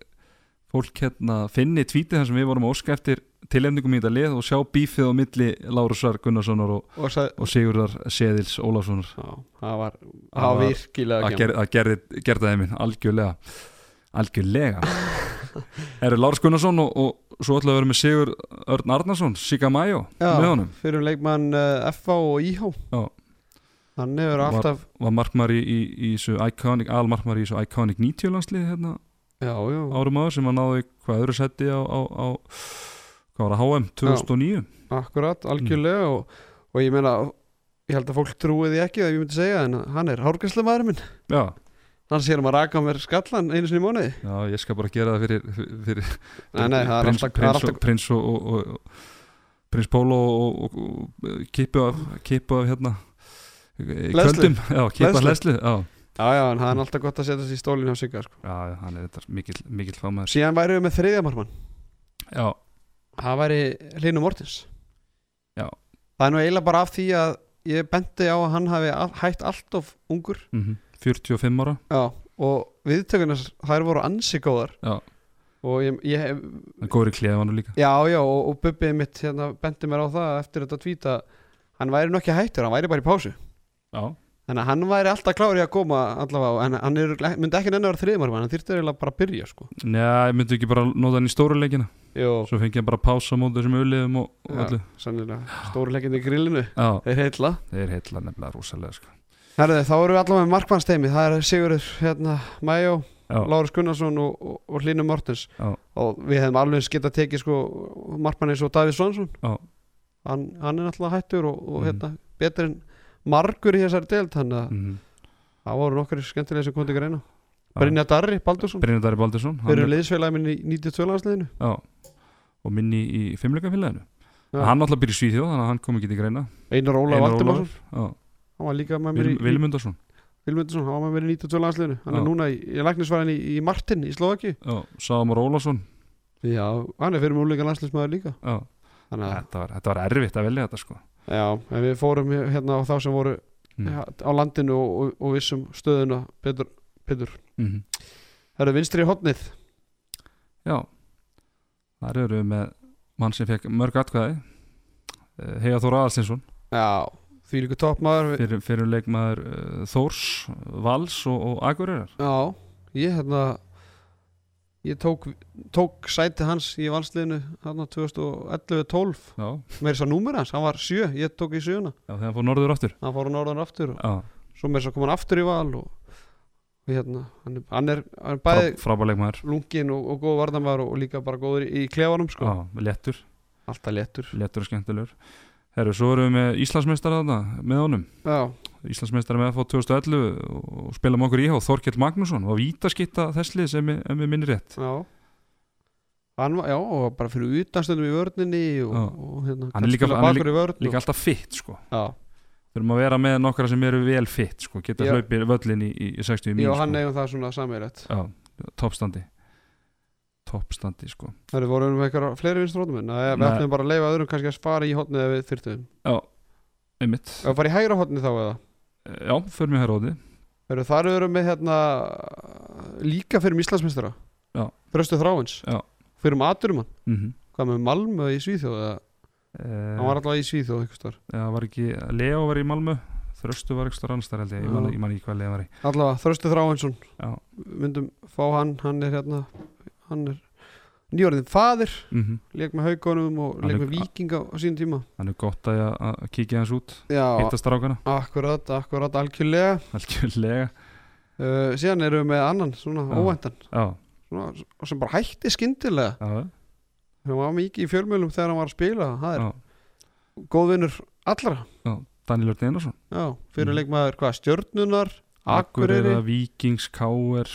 S2: fólk hérna finni tvítið þar sem við vorum að óska eftir tilefningum í þetta lið og sjá bífið á milli Lárusar Gunnarssonar og,
S3: og sagði
S2: og Sigurðar Seðils Ólafssonar
S3: Já, það var,
S2: Það
S3: það var
S2: var-
S3: virkilega
S2: að
S3: gæm
S2: ger, að gerði, gerði þeim minn, algjörlega algjörlega eru Lárus Gunnarsson og, og svo ætlaði að vera með Sigur Örn Arnarsson Siga Mayo með
S3: Já,
S2: honum
S3: fyrir leikmann uh, FH og IH
S2: Já.
S3: Hann hefur
S2: Var-
S3: alltaf
S2: var markmar í, í, í þessu iconic, almarkmar í þessu iconic 90 landslið hérna
S3: Já, já,
S2: árum áður sem að náði hvað öðru setti á, á, á hvað var það, HM 2009
S3: akkurat,
S2: Mm.
S3: algjörlega og, og ég meina, ég held að fólk trúi því ekki að ég myndi segja, en hann er hárgæslemaður minn
S2: Já,
S3: Hann sér um að raka á mér skallan einu sinni í mónuði
S2: já, ég skal bara gera það fyrir, fyrir, fyrir
S3: Nei, nei, það er
S2: prins,
S3: alltaf, það er
S2: prins, og,
S3: alltaf
S2: prins og, og, og, og prins Pólo og, og, og, og kipu af, kipu af hérna í
S3: Hleðslu.
S2: kvöldum, já, kipa
S3: Hleðslu.
S2: hlæslu já,
S3: Já, já, en það er alltaf gott að setja sér í stólinn hjá Sigga sko.
S2: já, já, hann er þetta mikill, mikill fámaður
S3: Síðan væri við með þriðjamarmann
S2: já,
S3: Það væri Hlynur Mortins
S2: Já.
S3: Það er nú eiginlega bara af því að ég benti á að hann hafi all- hætt allt of ungur
S2: mm 45 ára
S3: Já, og viðtökunar þær voru ansi góðar
S2: Já.
S3: og ég, ég
S2: hann góður í klefanu líka
S3: já, já, og, og Bubbi mitt hérna bendi mér á það eftir þetta tvíta hann væri nú ekki hættur, hann væri bara í pásu
S2: já,
S3: þannig að hann væri alltaf klári að koma allavega, en hann er, myndi ekki nenni að vera þriðmar hann þyrfti eiginlega bara að byrja, sko
S2: Njá, ég myndi ekki bara nota hann í stóru leikina
S3: Jó,
S2: svo fengi hann bara pása móti þessum auðliðum og, og
S3: Já.
S2: öllu
S3: sannilega, stóru leggindi í grillinu
S2: já,
S3: þeir heitla.
S2: þeir er heitla nefnilega rosalega sko.
S3: Herðu, þá eru við allavega með markmannsteimi, það er Sigurður, hérna, Mæjó
S2: já,
S3: Lárus Gunnarsson og, og, og Hlynur Mortens
S2: Já.
S3: og við hefum alveg eins getað tekið sko, markmann eins og Davíð Svansson
S2: Já.
S3: hann, hann er náttúrulega hættur og, og
S2: Mhm.
S3: hérna, betur en margur í þessari deild þannig að
S2: mhm.
S3: það voru nokkari skemmtilega sem kom til greina
S2: Já.
S3: Brynja Darri Baldursson
S2: Brynjar Darri Baldursson hann
S3: fyrir
S2: er-
S3: liðsfélagi minn í 92 landsliðinu
S2: já, og minni í fimmleikafélaginu
S3: Já.
S2: hann alltaf byrja í Svíþjóð þannig að hann kom ekki til greina
S3: Einar Óla
S2: Einar
S3: Valdimarsson
S2: já,
S3: hann var líka með mér í,
S2: Vil- Vilmundarsson
S3: Vilmundsson, hann var með mér í 92 landsliðinu hann er
S2: Já.
S3: núna í, í læknisvæðin í, í Martin í Slovaki
S2: já, Samar Ólason
S3: já, hann er fyrir mjög líka landsliðsmaður líka
S2: já,
S3: þannig að,
S2: þetta var, þetta var erfitt að velja þetta sko
S3: já, en við fórum hérna á þá sem voru
S2: mm.
S3: ja, á landinu og, og, og vissum stöðuna betur, betur.
S2: Mhm.
S3: Það eru vinstri hotnið
S2: já þar eru við með mann sem fekk mörg atkvæði Eh, Heiða Þór Aðalstinsson
S3: Já, því líka toppmaður
S2: fyrir, fyrir leikmaður uh, Þórs, Vals og, og Akureyrar
S3: Já, ég hérna ég tók, tók sæti hans í valsliðinu hann á 2011-12
S2: já,
S3: með þess að númur hans, hann var sjö, ég tók í sjöuna
S2: já þegar hann fór norður aftur
S3: hann fór á norðan aftur og
S2: já,
S3: svo með þess að kom hann aftur í val og, og hérna, hann er, hann er, hann er
S2: frá,
S3: bæði
S2: frábær leikmaður
S3: lungin og, og góð varnamæður og, og líka bara góður í, í klefanum sko,
S2: já, lettur
S3: alltaf léttur
S2: Lettur og skemmtilegur Herru, svo erum við með Íslandsmeistara þarna með honum
S3: Já,
S2: Íslandsmeistara með FH 2011 og spilum okkur íhá Þorkell Magnússon og vítaskitta þesslið sem við, við minnir rétt
S3: Já Hann var, já, og var bara fyrir utanstundum í vörninni og,
S2: Já.
S3: og hérna,
S2: Hann er líka- hann er
S3: bakur í vörn
S2: Líka alltaf fitt sko
S3: og, Já,
S2: Þurfum að vera með nokkra sem eru vel fitt sko Geta
S3: Já.
S2: hlaupið völlin í, í, í 60 mín
S3: ég og
S2: sko.
S3: hann eigum það svona sammeilegt
S2: Já, toppstandi Toppstandi sko
S3: Það eru voru við með eitthvað fleiri vinstrótum en við
S2: Nei.
S3: ætlum bara að leifa öðrum kannski að fara í hotnið ef við þyrftum
S2: Einmitt
S3: Ef við fara í hægra hotnið þá eða
S2: Já, förum við hér óði
S3: Eru þar eru með hérna líka fyrir um Íslandsmeistara
S2: Já.
S3: Þröstu Þráins
S2: Já.
S3: Fyrir um Aturmann
S2: mm -hmm.
S3: Hvað með Malmö í Svíþjóð eða Eh, Hann var
S2: var...
S3: alltaf í Svíþjóð einhvers staðar.
S2: Eh, Já, var ekki Leo var í Malmö Þröstu var ekstra rannstar held ég Ég man,
S3: Já.
S2: ég man ekki hvað Leo var í
S3: Allavega Þröstu Þráinsson
S2: Já.
S3: Myndum fá hann, hann er hérna Hann er nýjórðin faðir,
S2: mm -hmm.
S3: leik með haugunum og
S2: Hann
S3: leik
S2: er-
S3: með vikinga á sínum tíma
S2: Þannig er gott að, ég- að kíkja hans út
S3: já,
S2: hitta strákana,
S3: akkurat, akkurat algjörlega
S2: algjörlega
S3: uh, síðan erum við með annan, svona
S2: Já.
S3: óvæntan
S2: Já,
S3: svona, sem bara hætti skyndilega
S2: já,
S3: hann var mikið í fjölmjölum þegar hann var að spila það er
S2: já,
S3: góð vinnur allra
S2: já Daniel Örn Einarsson
S3: já, fyrir
S2: Mm.
S3: leikmaður, hvað, stjörnunar Akureyri,
S2: Akureyra, Víkings, Káer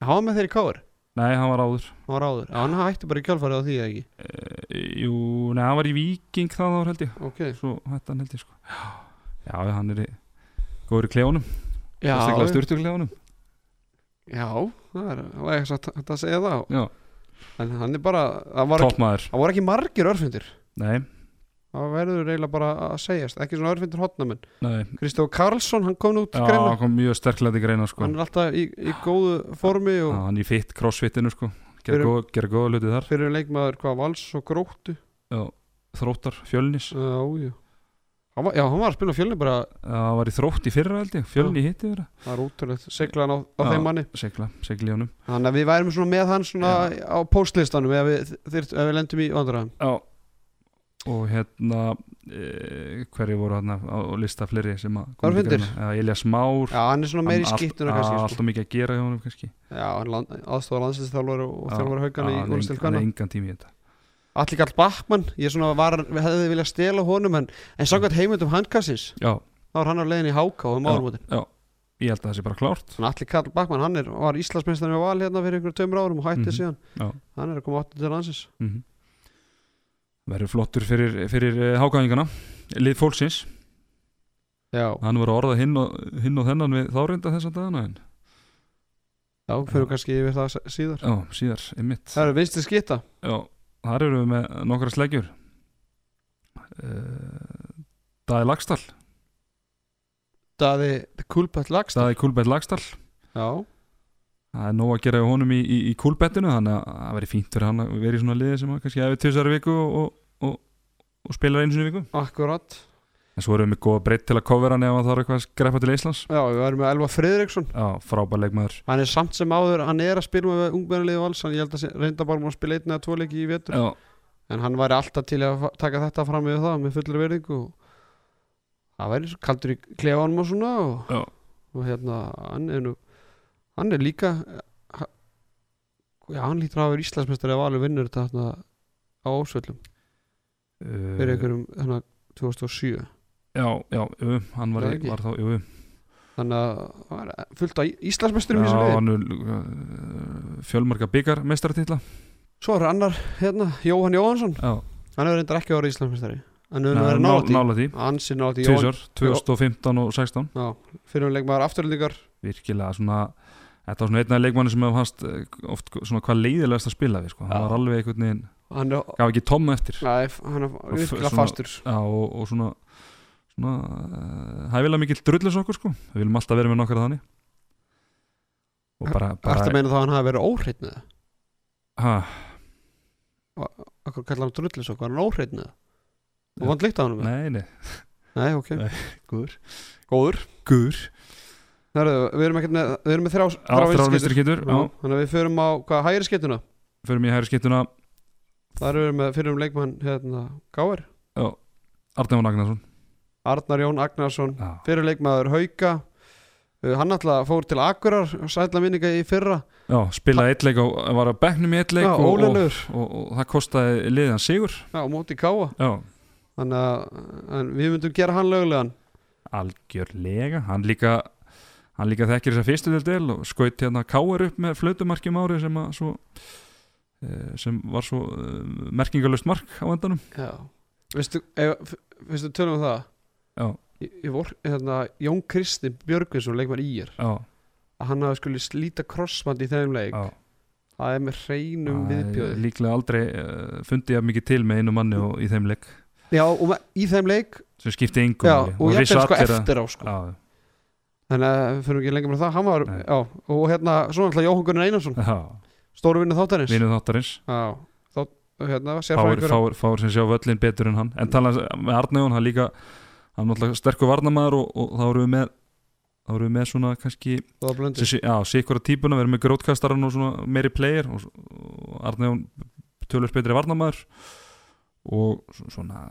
S3: hann var með þeir í káir
S2: Nei, hann var áður
S3: hann var áður, já, hann hætti bara í kjálfarið á því eða ekki,
S2: e, Jú, nei, hann var í Víking það áður held ég
S3: ok
S2: Svo hætti hann held ég sko Já, já hann er í góður í klefunum
S3: já,
S2: Sérstaklega styrtuklefunum
S3: já, það er það var ekki satt hægt að segja það
S2: Já,
S3: en hann er bara, það var ekki,
S2: toppmaður
S3: það voru ekki margir örfundir
S2: Nei,
S3: það verður eiginlega bara að segjast ekki svona örfundir hotnamenn
S2: nei
S3: Kristó Karlsson, hann kom nú út
S2: Já,
S3: greina
S2: hann kom mjög sterklega til greina sko
S3: hann er alltaf í, í góðu formi
S2: Já,
S3: og
S2: hann í fitt crossfitinu sko Gerða
S3: Fyrir-
S2: góð, ger góða hluti þar
S3: fyrir leikmaður hvað vals og gróttu
S2: Þróttar, fjölnis
S3: já, já hann var, já, hann var að spila á fjölni bara
S2: Það var í þrótt í fyrra held ég Fjölni hitti þeirra
S3: það er útrúlegt, segla hann á, á
S2: Já.
S3: þeim manni
S2: Segla, segli honum
S3: þannig að við værum svona með hann svona á postlistanum ef við, þyrt, ef við lendum í vandræðum
S2: Já Og hérna e, Hverju voru hann á á lista fleiri sem að
S3: Það eru
S2: til
S3: fundir.
S2: greina? Já, Elías Már
S3: já, hann er svona meiri
S2: Hann all-
S3: skiptuna
S2: á,
S3: kannski sko.
S2: Alltaf mikið að gera hjá honum kannski
S3: já, hann land, aðstofa landslistþjálfur og
S2: Já,
S3: þjálfur haugana
S2: Já, hann er
S3: í
S2: eng- hann
S3: úrstilkana
S2: er engan tími í þetta
S3: allir kall Bachmann, ég svona var við hefði viljað stela honum en, en samkvæmt heimundum handkassins,
S2: Já,
S3: þá var hann á leiðin í Háká um
S2: Já.
S3: áramótin,
S2: ég held að það sé bara klárt
S3: þannig allir kall Bachmann hann er, var Íslandsmeistarinn við val hérna fyrir ykkur tömur árum og hætti
S2: Mhm. Já.
S3: síðan hann er að koma 8 til landsins
S2: mm Verður flottur fyrir, fyrir hákæðingana Lið fólksins
S3: já,
S2: Hann var að orða hinn og, hinn og þennan við þárinda þessa dagana en
S3: Já, fyrir kannski yfir það s- síðar
S2: Já, síðar, einmitt
S3: Það eru vinstri skita
S2: Já, þar eru við með nokkra slegjur uh, Dæði Lagstall
S3: Daði Kulbett Lagstad
S2: Dæði Kúlbett Lagstall
S3: Já,
S2: Það er nóg að gera hjá honum í, í, í kúlbettinu þannig að það verið fínt fyrir hann að vera í svona liði sem að kannski hefur tvisar í viku og, og, og, og spilar einu sinni í viku
S3: akkurat
S2: en svo erum við með góða breytt til að kofera hann ef hann þarf eitthvað að greppa til Íslands
S3: Já, við erum með Elva Friðriksson
S2: Já, frábær leikmaður
S3: Hann er samt sem áður, hann er að spila með ungbjörnulegu vals Hann ég held að sé- reynda bara múin að spila einn eða tvo leiki í vetur
S2: Já,
S3: En hann væri alltaf til að fa- taka þetta fram við það með fullri verðingu og Það væri svo kaldur í klefanum og svona og,
S2: Já.
S3: og hérna, hann er nú Hann er líka eh, ha- Já, hann lítur að hafa Íslandsmestari að valur vinnur þetta þarna á Ósvöllum
S2: uh,
S3: fyrir einhverjum hérna 2007
S2: Já, já, jú, hann var,
S3: Það
S2: í-
S3: ekki?
S2: var þá, jú, jú.
S3: þannig að það var fullt á Íslandsmesturum í
S2: Já,
S3: þessu liði
S2: hann er uh, fjölmarga byggar mestaratitla
S3: svo er annar hérna, Jóhann Jóhansson
S2: Já,
S3: hann hefur reyndar ekki orðið Íslandsmestari hann hefur nú
S2: Nei,
S3: verið
S2: ná-
S3: nátt í
S2: nálægt því
S3: hann sé nátt í Jóhann
S2: Tvisar, 2015 og 16
S3: já, fyrir um leikmaður afturlendingar
S2: virkilega svona þetta var svona einn af leikmanni sem hefur hans oft svona hvað leiðilegast að spila við sko. hann
S3: Já.
S2: var alveg einhvern veginn,
S3: hann er
S2: gaf ekki tomma eftir já,
S3: Æ, hann er virkilega
S2: svona-
S3: fastur
S2: og, og svona svona uh, hæfilega mikill drullis okkur sko við viljum alltaf vera með nokkara þannig og bara,
S3: Ertu að
S2: bara
S3: meina þá að hann hafi verið óhreitn eða?
S2: ha,
S3: Akkur kallar hann drullis okkur, hann óhreitn eða?
S2: Já.
S3: Og vant líkt á hann með?
S2: nei, nei,
S3: Nei, ok
S2: Nei.
S3: Góður Góður
S2: gur
S3: Herðu, við erum, ekkert með, við erum með þrjá,
S2: þrjá
S3: vinstri
S2: vinstri getur,
S3: Já, Þannig að við förum á hvað, hægri skytuna
S2: förum í hægri skiptuna
S3: Þar erum við með fyrir um leikmann hérna, Gáir
S2: Arnefán Agnarsson
S3: Arnar Jón Agnarsson
S2: já,
S3: fyrir leikmaður Hauka Uh, hann alltaf fór til Akurar sætla minninga í fyrra
S2: já spilaði eitt leik og var að bekknum í eitt leik
S3: Já,
S2: og, og,
S3: óleilegur.
S2: og, og það kostaði liðan sigur
S3: já, á móti káa
S2: já,
S3: þannig að en við myndum gera hann lögulegan
S2: algjörlega hann líka, hann líka þekkir þess að fyrstu del del og skaut hérna káar upp með flautumarkjum árið sem að svo eh, sem var svo eh, merkingalust mark á endanum
S3: já. veistu, ef, veistu tölum við það
S2: já,
S3: ég, ég vor, hérna, Jón Kristi Björgvinsson leikmann í er
S2: já,
S3: að hann hafi skulle slíta krossmand í þeim leik
S2: já.
S3: það er með hreinum
S2: Það er
S3: viðbjöði
S2: líklega aldrei uh, fundið ég mikið til með einu manni og, í þeim leik
S3: já, og ma- í þeim leik
S2: sem skipti engum
S3: já, og ég fyrir sko eftir á sko.
S2: já,
S3: þannig að við fyrir ekki lengur með það hann var,
S2: Nei.
S3: já, og hérna, svona alltaf Jóhann Gunnar Einarsson
S2: já,
S3: stóru vinnu þáttarins
S2: vinnu þáttarins
S3: Já, þá, hérna,
S2: fáir,
S3: sérfræðingur
S2: fáir, fáir sem sjá völlin betur en hann en tala með Arnæðun, hann líka hann er náttúrulega sterkur varnamaður og, og þá erum við með þá erum við með svona kannski
S3: Það var blöndur
S2: Þessi, já, síkvara típuna, við erum með grótkastarann og svona meiri player og, og Arne Jón tölur betri varnamaður og svo- svona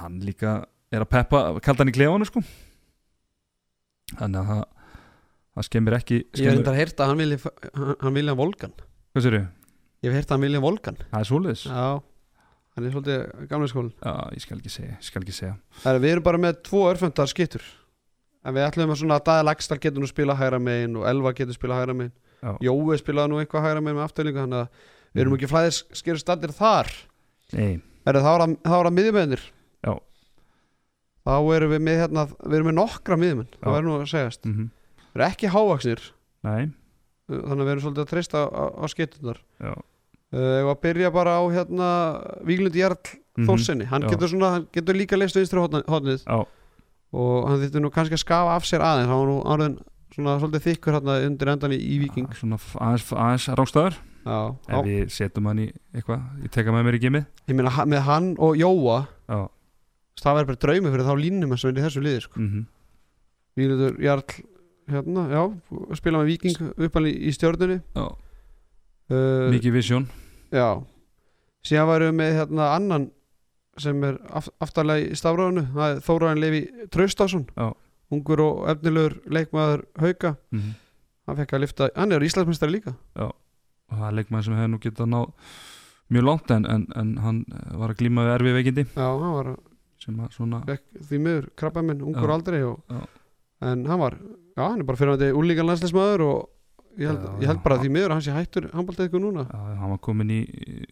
S2: hann líka er að peppa kaldan í klefanu sko þannig að það það skemmir ekki
S3: Ég hef
S2: skemmir,
S3: reyndar heyrt að hann vilja hann, hann vilja Volkan
S2: hvað sér ég?
S3: Ég hef heyrt að hann vilja Volkan
S2: Það er svoleiðis? Já.
S3: Já, hann er svolítið gamla skólan
S2: ég skal ekki segja, ég skal ekki segja
S3: Það er, við erum bara með tvo örföndar skittur En við ætlum að svona að Dæða Lagstall getur nú spila hægra megin og Elva getur spila hægra megin
S2: Já.
S3: Jói spilaði nú eitthvað hægra megin með afturlíku þannig að við
S2: Mhm.
S3: erum ekki flæðis skeru stattir þar
S2: Nei,
S3: er það, var að, það var að miðjumendir
S2: Já.
S3: Þá erum við með hérna við erum með nokkra miðjumenn, það
S2: Já.
S3: verður nú að segjast
S2: mm -hmm.
S3: Við erum ekki hávaksnir,
S2: nei
S3: þannig að við erum svolítið að treysta á, á skittunar
S2: Já.
S3: Uh, ef að byrja bara á hérna Víglund Jarl
S2: Mhm.
S3: Þórsenni hann,
S2: Já.
S3: getur svona, hann getur líka leist vinstri horna- hornið
S2: Já,
S3: og hann þýttur nú kannski að skafa af sér aðeins hann var nú áriðin svona svolítið þykkur hérna undir endan í, í Víking
S2: að- svona f- aðeins, aðeins rángstæður
S3: já, já.
S2: ef við setjum hann í eitthvað ég teka með mér í gimið
S3: ég meina ha- með hann og Jóa
S2: Já,
S3: það verður bara draumi fyrir þá línum sem er í þessu liði sko.
S2: mhm
S3: Víglundur Jarl hérna, já, spila með Víking uppalega í stjórnunni
S2: Já.
S3: uh,
S2: mikið visjón
S3: Já Síðan varum við með hérna annan sem er aft aftarlega í stafráðinu það er Þóraðin Levi Traustásson
S2: Já.
S3: ungur og efnilegur leikmaður Hauka,
S2: mm -hmm.
S3: hann fekk að lifta hann er Íslandsmeistari líka
S2: og það er leikmann sem hefði nú getað náð mjög langt en, en, en hann eh, var að glíma við erfi veikindi
S3: Já, hann var
S2: sem að svona
S3: fekk, því miður krabba minn, ungur
S2: Já.
S3: aldrei og,
S2: Já.
S3: en hann var, já hann er bara fyrir þetta úlíkan landslismæður og ég held,
S2: Já,
S3: ég held bara
S2: já.
S3: að því miður að hann sé hættur handbaldið eitthvað núna
S2: að hann var komin í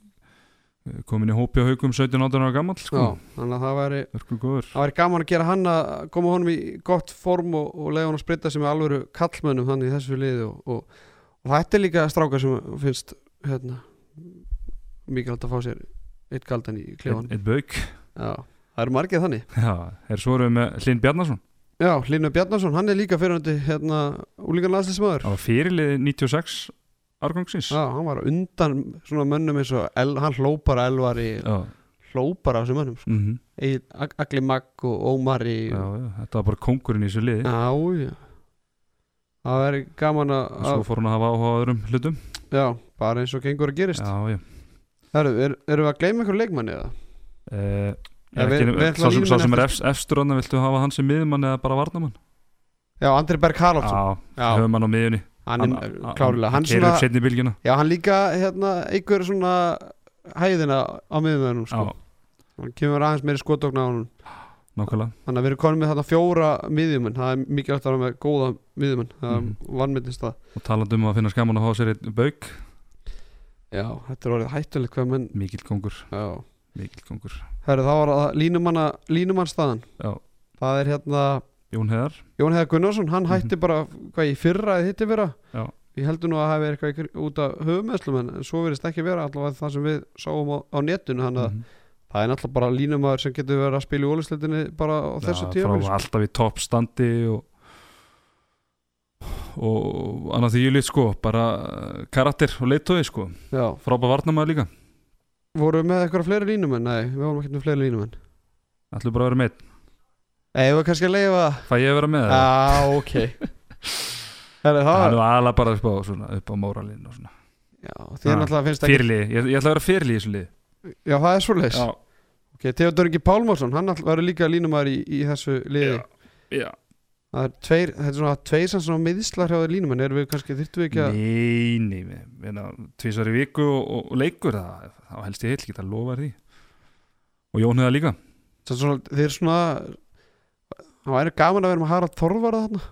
S2: eh, komin í hópi á haugum 17-18 ára gammal
S3: Já,
S2: sko,
S3: þannig að það væri
S2: örku góður
S3: það væri gaman að gera hann að koma honum í gott form og, og leiða hann að spritta sem er alvöru kallmönnum hann í þessu liði og, og, og þetta er líka strákar sem finnst hérna mikilvægt að fá sér eitt kaldan í klefan
S2: eitt eitt bauk
S3: Já, það eru margið þannig
S2: já, er svo erum við með Hlinn Bjarnason
S3: Já, Línu Bjarnason, hann er líka fyrirhandi hérna úlíkan landslismöður
S2: á fyrirlið 96 árgangsins
S3: Já, hann var á undan svona mönnum eins og el, hann hlópar að elvari
S2: já.
S3: hlópar af þessum mönnum sko.
S2: mhm.
S3: Egill- Ag- Agli Magg og Ómari
S2: já,
S3: og,
S2: já, þetta var bara kongurinn í þessu liði
S3: Já, já Það væri gaman að
S2: og svo fór hann að hafa áhuga á öðrum hlutum
S3: Já, bara eins og gengur að gerist
S2: já, já
S3: Herru, er, Erum við að gleyma einhver leikmanni eða?
S2: Eh,
S3: Já,
S2: er
S3: við-
S2: ekki-
S3: við ætlum
S2: sá
S3: að
S2: sem, sá
S3: lína
S2: sem er
S3: eftir-
S2: efst- efstur hann viltu hafa hann sem miðjumann eða bara varnamann
S3: Já, Andri Berg Karlsson
S2: já,
S3: Já,
S2: höfum hann á miðjunni
S3: hann er klárilega
S2: hann
S3: Hann
S2: keirir
S3: svona,
S2: upp setni bylgina
S3: já, hann líka hérna, einhver svona hæðina á miðunum sko.
S2: já,
S3: Hann kemur aðeins meiri skotokna á hann
S2: nákvæmlega
S3: Þannig að við erum konum með þarna fjóra miðjumenn Það er mikilvægt að vera með góða miðjumenn Það mm
S2: Mhm.
S3: vannmyndist það
S2: og talandi um að finna skaman að hafa sér einn bauk
S3: Já, þetta er orðið hættulegt hvað menn
S2: mikill kongur,
S3: Já
S2: mikill kongur
S3: Herru, þá var það línumanna, línumannstaðan
S2: já,
S3: Það er hérna
S2: Jón Heðar
S3: Jón Heða Gunnarsson, hann hætti bara hvað í fyrra eða hitti fyrra
S2: Mhm. Já.
S3: ég heldur nú að það hafi verið eitthvað í kring- út af höfumeðslum en en svo verðist ekki vera allavega það sem við sáum á, á netinu þannig að
S2: Mhm.
S3: það er náttúrulega bara línumæður sem getur verið að spila í ólisleitinni bara á þessu sko.
S2: Já,
S3: tíma
S2: frá alltaf í toppstandi og og annað því ég lít sko bara eh, karakter og leittói sko
S3: Já,
S2: frábæð varnamaður líka,
S3: vorum við með eitthvað fleiri línumenn? Nei, við vorum ekki með fleiri línumenn
S2: ætlum bara að vera með einn.
S3: Nei, við varum kannski að leifa
S2: fæ ég að vera með það?
S3: Já, ok Herri, það
S2: Það
S3: var
S2: er aðla bara upp á, svona, upp á móralinn og svona
S3: Já, þér
S2: Já.
S3: náttúrulega finnst ekki
S2: Fyrirlið, ég, ég ætla að vera fyrirlið í þessu lið
S3: Já, það er svoleiðis
S2: Já,
S3: Ok, Theodor Ingi Pálmarsson, hann náttúrulega verður líka línumæður í, í þessu liði
S2: já
S3: Það er tveir, þetta er svona tveir sem svona miðslar hjá þér línum en erum við kannski, þyrftum við ekki að
S2: Nei, nei, nei, meina, tvisar í viku og, og, og leikur það, þá helst ég heil, geta lofa því Og Jón hefða líka
S3: það er svona, þeir svona það væri gaman að vera með Harald Þorvarða þarna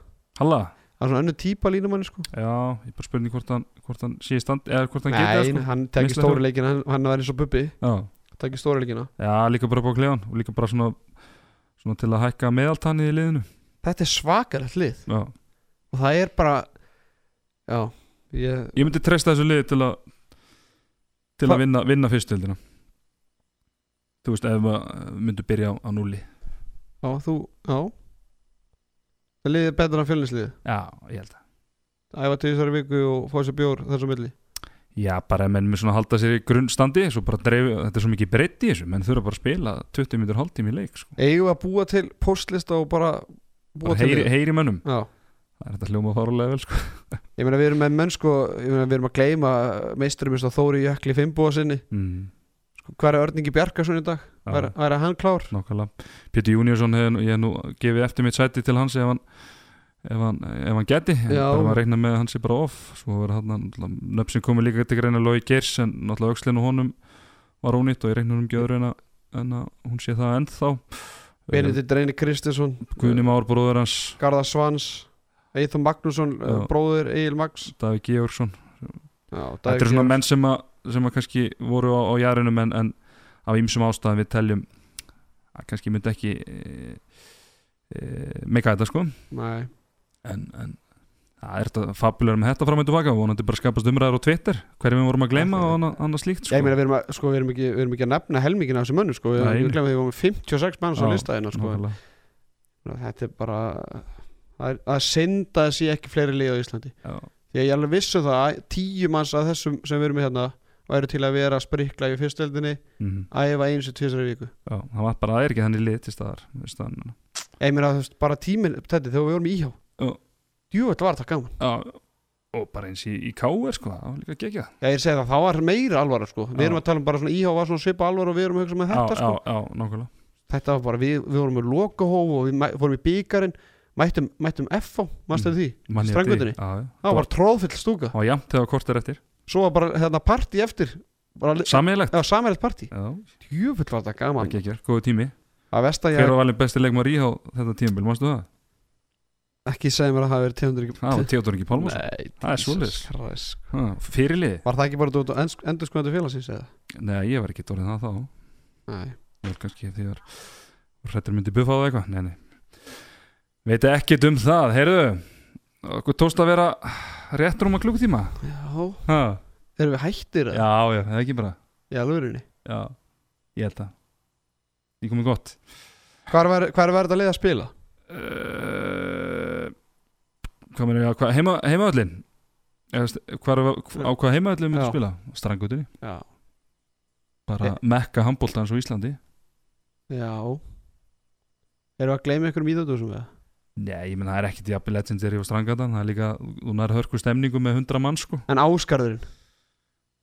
S2: Halla,
S3: það er svona önnu típa línumanni sko
S2: já, ég bara spurning hvort hann, hvort hann sé í stand, eða hvort hann
S3: Nei,
S2: geti það sko
S3: hann tekir
S2: Minnsta
S3: stóru
S2: þrjú.
S3: leikina, hann, hann var eins og bubbi
S2: já,
S3: tekir stóru leikina
S2: já, líka bara upp á klefann og líka bara svona, svona til að hækka meðaltanni í liðinu
S3: Þetta er svakarlegt lið
S2: já.
S3: og það er bara já, ég,
S2: Ég myndi treysta þessu liði til að til
S3: Hva-
S2: að vinna, vinna fyrstöldina Þú veist, ef maður myndi byrja á, á núli
S3: já, þú, já það liðið er betur en fjölnisliðið
S2: Já, ég held að
S3: æfa til þessari viku og fá sér bjór þessu milli
S2: Já, bara ef menn með svona halda sér í grunnstandi svo bara dreif, þetta er svo mikið breytt í þessu menn þurfa bara að spila 20 minnur hálftími í leik sko.
S3: eigum við að búa til postlista og bara búa
S2: bara
S3: til
S2: heyri,
S3: liðið?
S2: heyri mönnum
S3: Já,
S2: það er þetta hljóma farulega vel sko.
S3: Ég meina við erum með menn sko Ég meina við erum að gleyma uh, meisturum eins og Þóri Jökli Fimbúa sinni
S2: mm,
S3: Hver er Örningi Bjarkarsson í dag?
S2: Já.
S3: Væri væri hann klár?
S2: nákvæmlega Pétur Júniusson hefur, ég hef nú gefið eftir mitt sæti til hans ef hann ef hann, ef hann geti, en
S3: Já.
S2: bara maður reikna með að hann sé bara off, svo verður hann nöfn sem komið líka til greina logi geirs en náttúrulega aukslinn og honum var ónýtt og ég reikna um ekki öðru en að, en að hún sé það ennþá Um,
S3: Benedikt Reyni Kristinsson
S2: Guðni Már bróður hans
S3: Garðar Svans Eithum Magnússon,
S2: Já.
S3: Já. bróðir Egil Max
S2: Davík Georgsson
S3: Já, Davíð
S2: Þetta eru svona
S3: Georg-
S2: menn sem að, sem að kannski voru á, á jarunum en, en af ýmsum ástæðum við teljum að kannski myndi ekki e, e, meika þetta sko
S3: Nei,
S2: en, en það er þetta fabulegur með þetta fram og tilbaka vonandi bara skapast umræðar á Twitter hverjum við vorum að gleyma og annað, annað slíkt sko.
S3: ég meina við erum, að, sko, við, erum ekki, við erum ekki að nefna helmingin af þessu mönnu sko. við,
S2: Nei,
S3: við
S2: nei.
S3: glemum því að við erum 56 manns á
S2: Já,
S3: listaðina sko.
S2: Nákvæmlega.
S3: þetta er bara það er, það er synd að sé ekki fleiri lið á Íslandi
S2: Já.
S3: því að ég er alveg vissu það að tíu manns af þessum sem við erum með hérna væru til að vera að sprikla í fyrstöldinni
S2: Mhm.
S3: æfa eins og tvisari viku
S2: Já, það var bara, það er ekki þannig lið til staðar við staðan.
S3: ég meina þú veist, bara tímin þetta þegar við vorum í íhjá
S2: Já.
S3: djú, þetta var þetta gaman
S2: Já, og bara eins í, í káver sko, það var líka gegja
S3: já, ég segi það, það var meira alvara sko. við
S2: Já.
S3: erum að tala um bara svona íhjá var svona svipa alvara og við erum að hugsa með
S2: Já,
S3: þetta
S2: já,
S3: sko.
S2: já, nákvæmlega
S3: þetta var bara, við, við vorum með lokahóf og við mæ, fórum í bíkarinn mættum, mættum FH, mannstu mm. því
S2: Man ég eftir því.
S3: Strangutinni?
S2: Já, já.
S3: það var tróðfull stúka
S2: Já, já, þegar kort er eftir
S3: svo var bara hérna partí eftir bara,
S2: Sammeilegt
S3: já, samerlegt partí
S2: Já,
S3: djöfull var þetta
S2: það
S3: gaman
S2: geggjur, góðu tími
S3: að vest að
S2: Hver
S3: ég
S2: var valin besti leikmar í á þetta tímabil, mannstu það?
S3: ekki segja mér að það hafi verið 200 ekki-
S2: Það var Theodor Ingi Pálmarsson
S3: Nei,
S2: Það er
S3: Jesus
S2: svoleiðis
S3: Christ.
S2: Ha, Fyrirliði?
S3: var það ekki bara út á endur skoðandi félagsins eða?
S2: Nei, ég var ekki dórið það þá
S3: Nei.
S2: Vel kannski þegar Hrættur myndi buffa á það eitthvað Nei, nei Veit ekkert um það, heyrðu Okkur tókst að vera rétt rúma klukkutíma
S3: já,
S2: ha,
S3: erum við hættir
S2: Já,
S3: eða?
S2: já, það er ekki bara
S3: í alvörunni
S2: Já, ég held það Ég komið gott
S3: hvar var, hvar var þetta leið að spila?
S2: uh, hvað meina ég hvað, heima, heimaöllin hvar, á hvað heimaöllin myndi
S3: Já.
S2: spila strangutinni,
S3: já,
S2: bara mekka handbóltans á Íslandi
S3: já erum við að gleyma einhverjum íþjóðdúsum eða?
S2: Nei, ég menn það er ekkit jafnvel legendary á strangatan það er líka, þú nær hörku stemningu með 100 mann sko.
S3: en áskarðurinn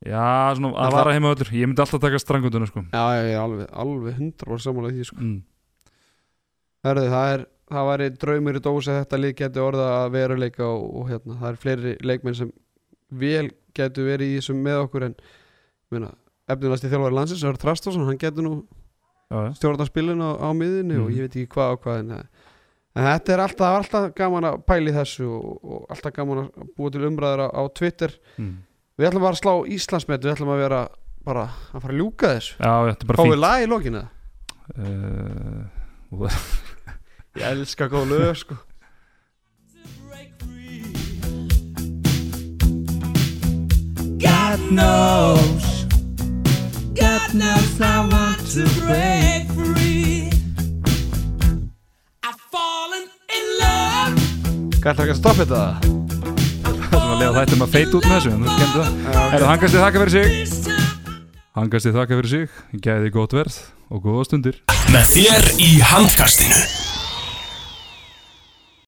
S2: Já, svona
S3: Það
S2: að
S3: var-
S2: vara heimaöllur ég myndi alltaf taka strangutinu sko.
S3: já, já, já, alveg, alveg 100 var samanlega því sko.
S2: mm.
S3: Herðu, það er það væri draumur í dósi að þetta lið geti orða að veruleika og, og hérna, það er fleiri leikmenn sem vel getur verið í þessum með okkur en meina, efnilegasti þjálfari landsins, Örn Trastosson, hann getur nú
S2: já, já.
S3: stjórna spilin á, á miðinni og
S2: Mhm.
S3: ég veit ekki hvað og hvað en, eh, en þetta er alltaf, það er alltaf gaman að pæli þessu og, og alltaf gaman að búa til umræðar á, á Twitter
S2: Mm.
S3: við ætlum bara að slá Íslandsmet við ætlum að vera bara að fara að ljúka þessu
S2: já, þetta er bara
S3: fáum við
S2: fínt
S3: lag í lokinu
S2: uh,
S3: það? ég elska góð lög sko
S4: God knows, God knows I want to break free. I've fallen in love.
S3: Gættu ekki að stoppa þetta það?
S2: Það sem að lega þetta um að feita út með þessu en þú kemdi það Herru, hangast þið þakka fyrir sig
S4: This time.
S2: Hangast þið þakka fyrir sig, gæði gott verð og góða stundir
S1: Með þér í handkastinu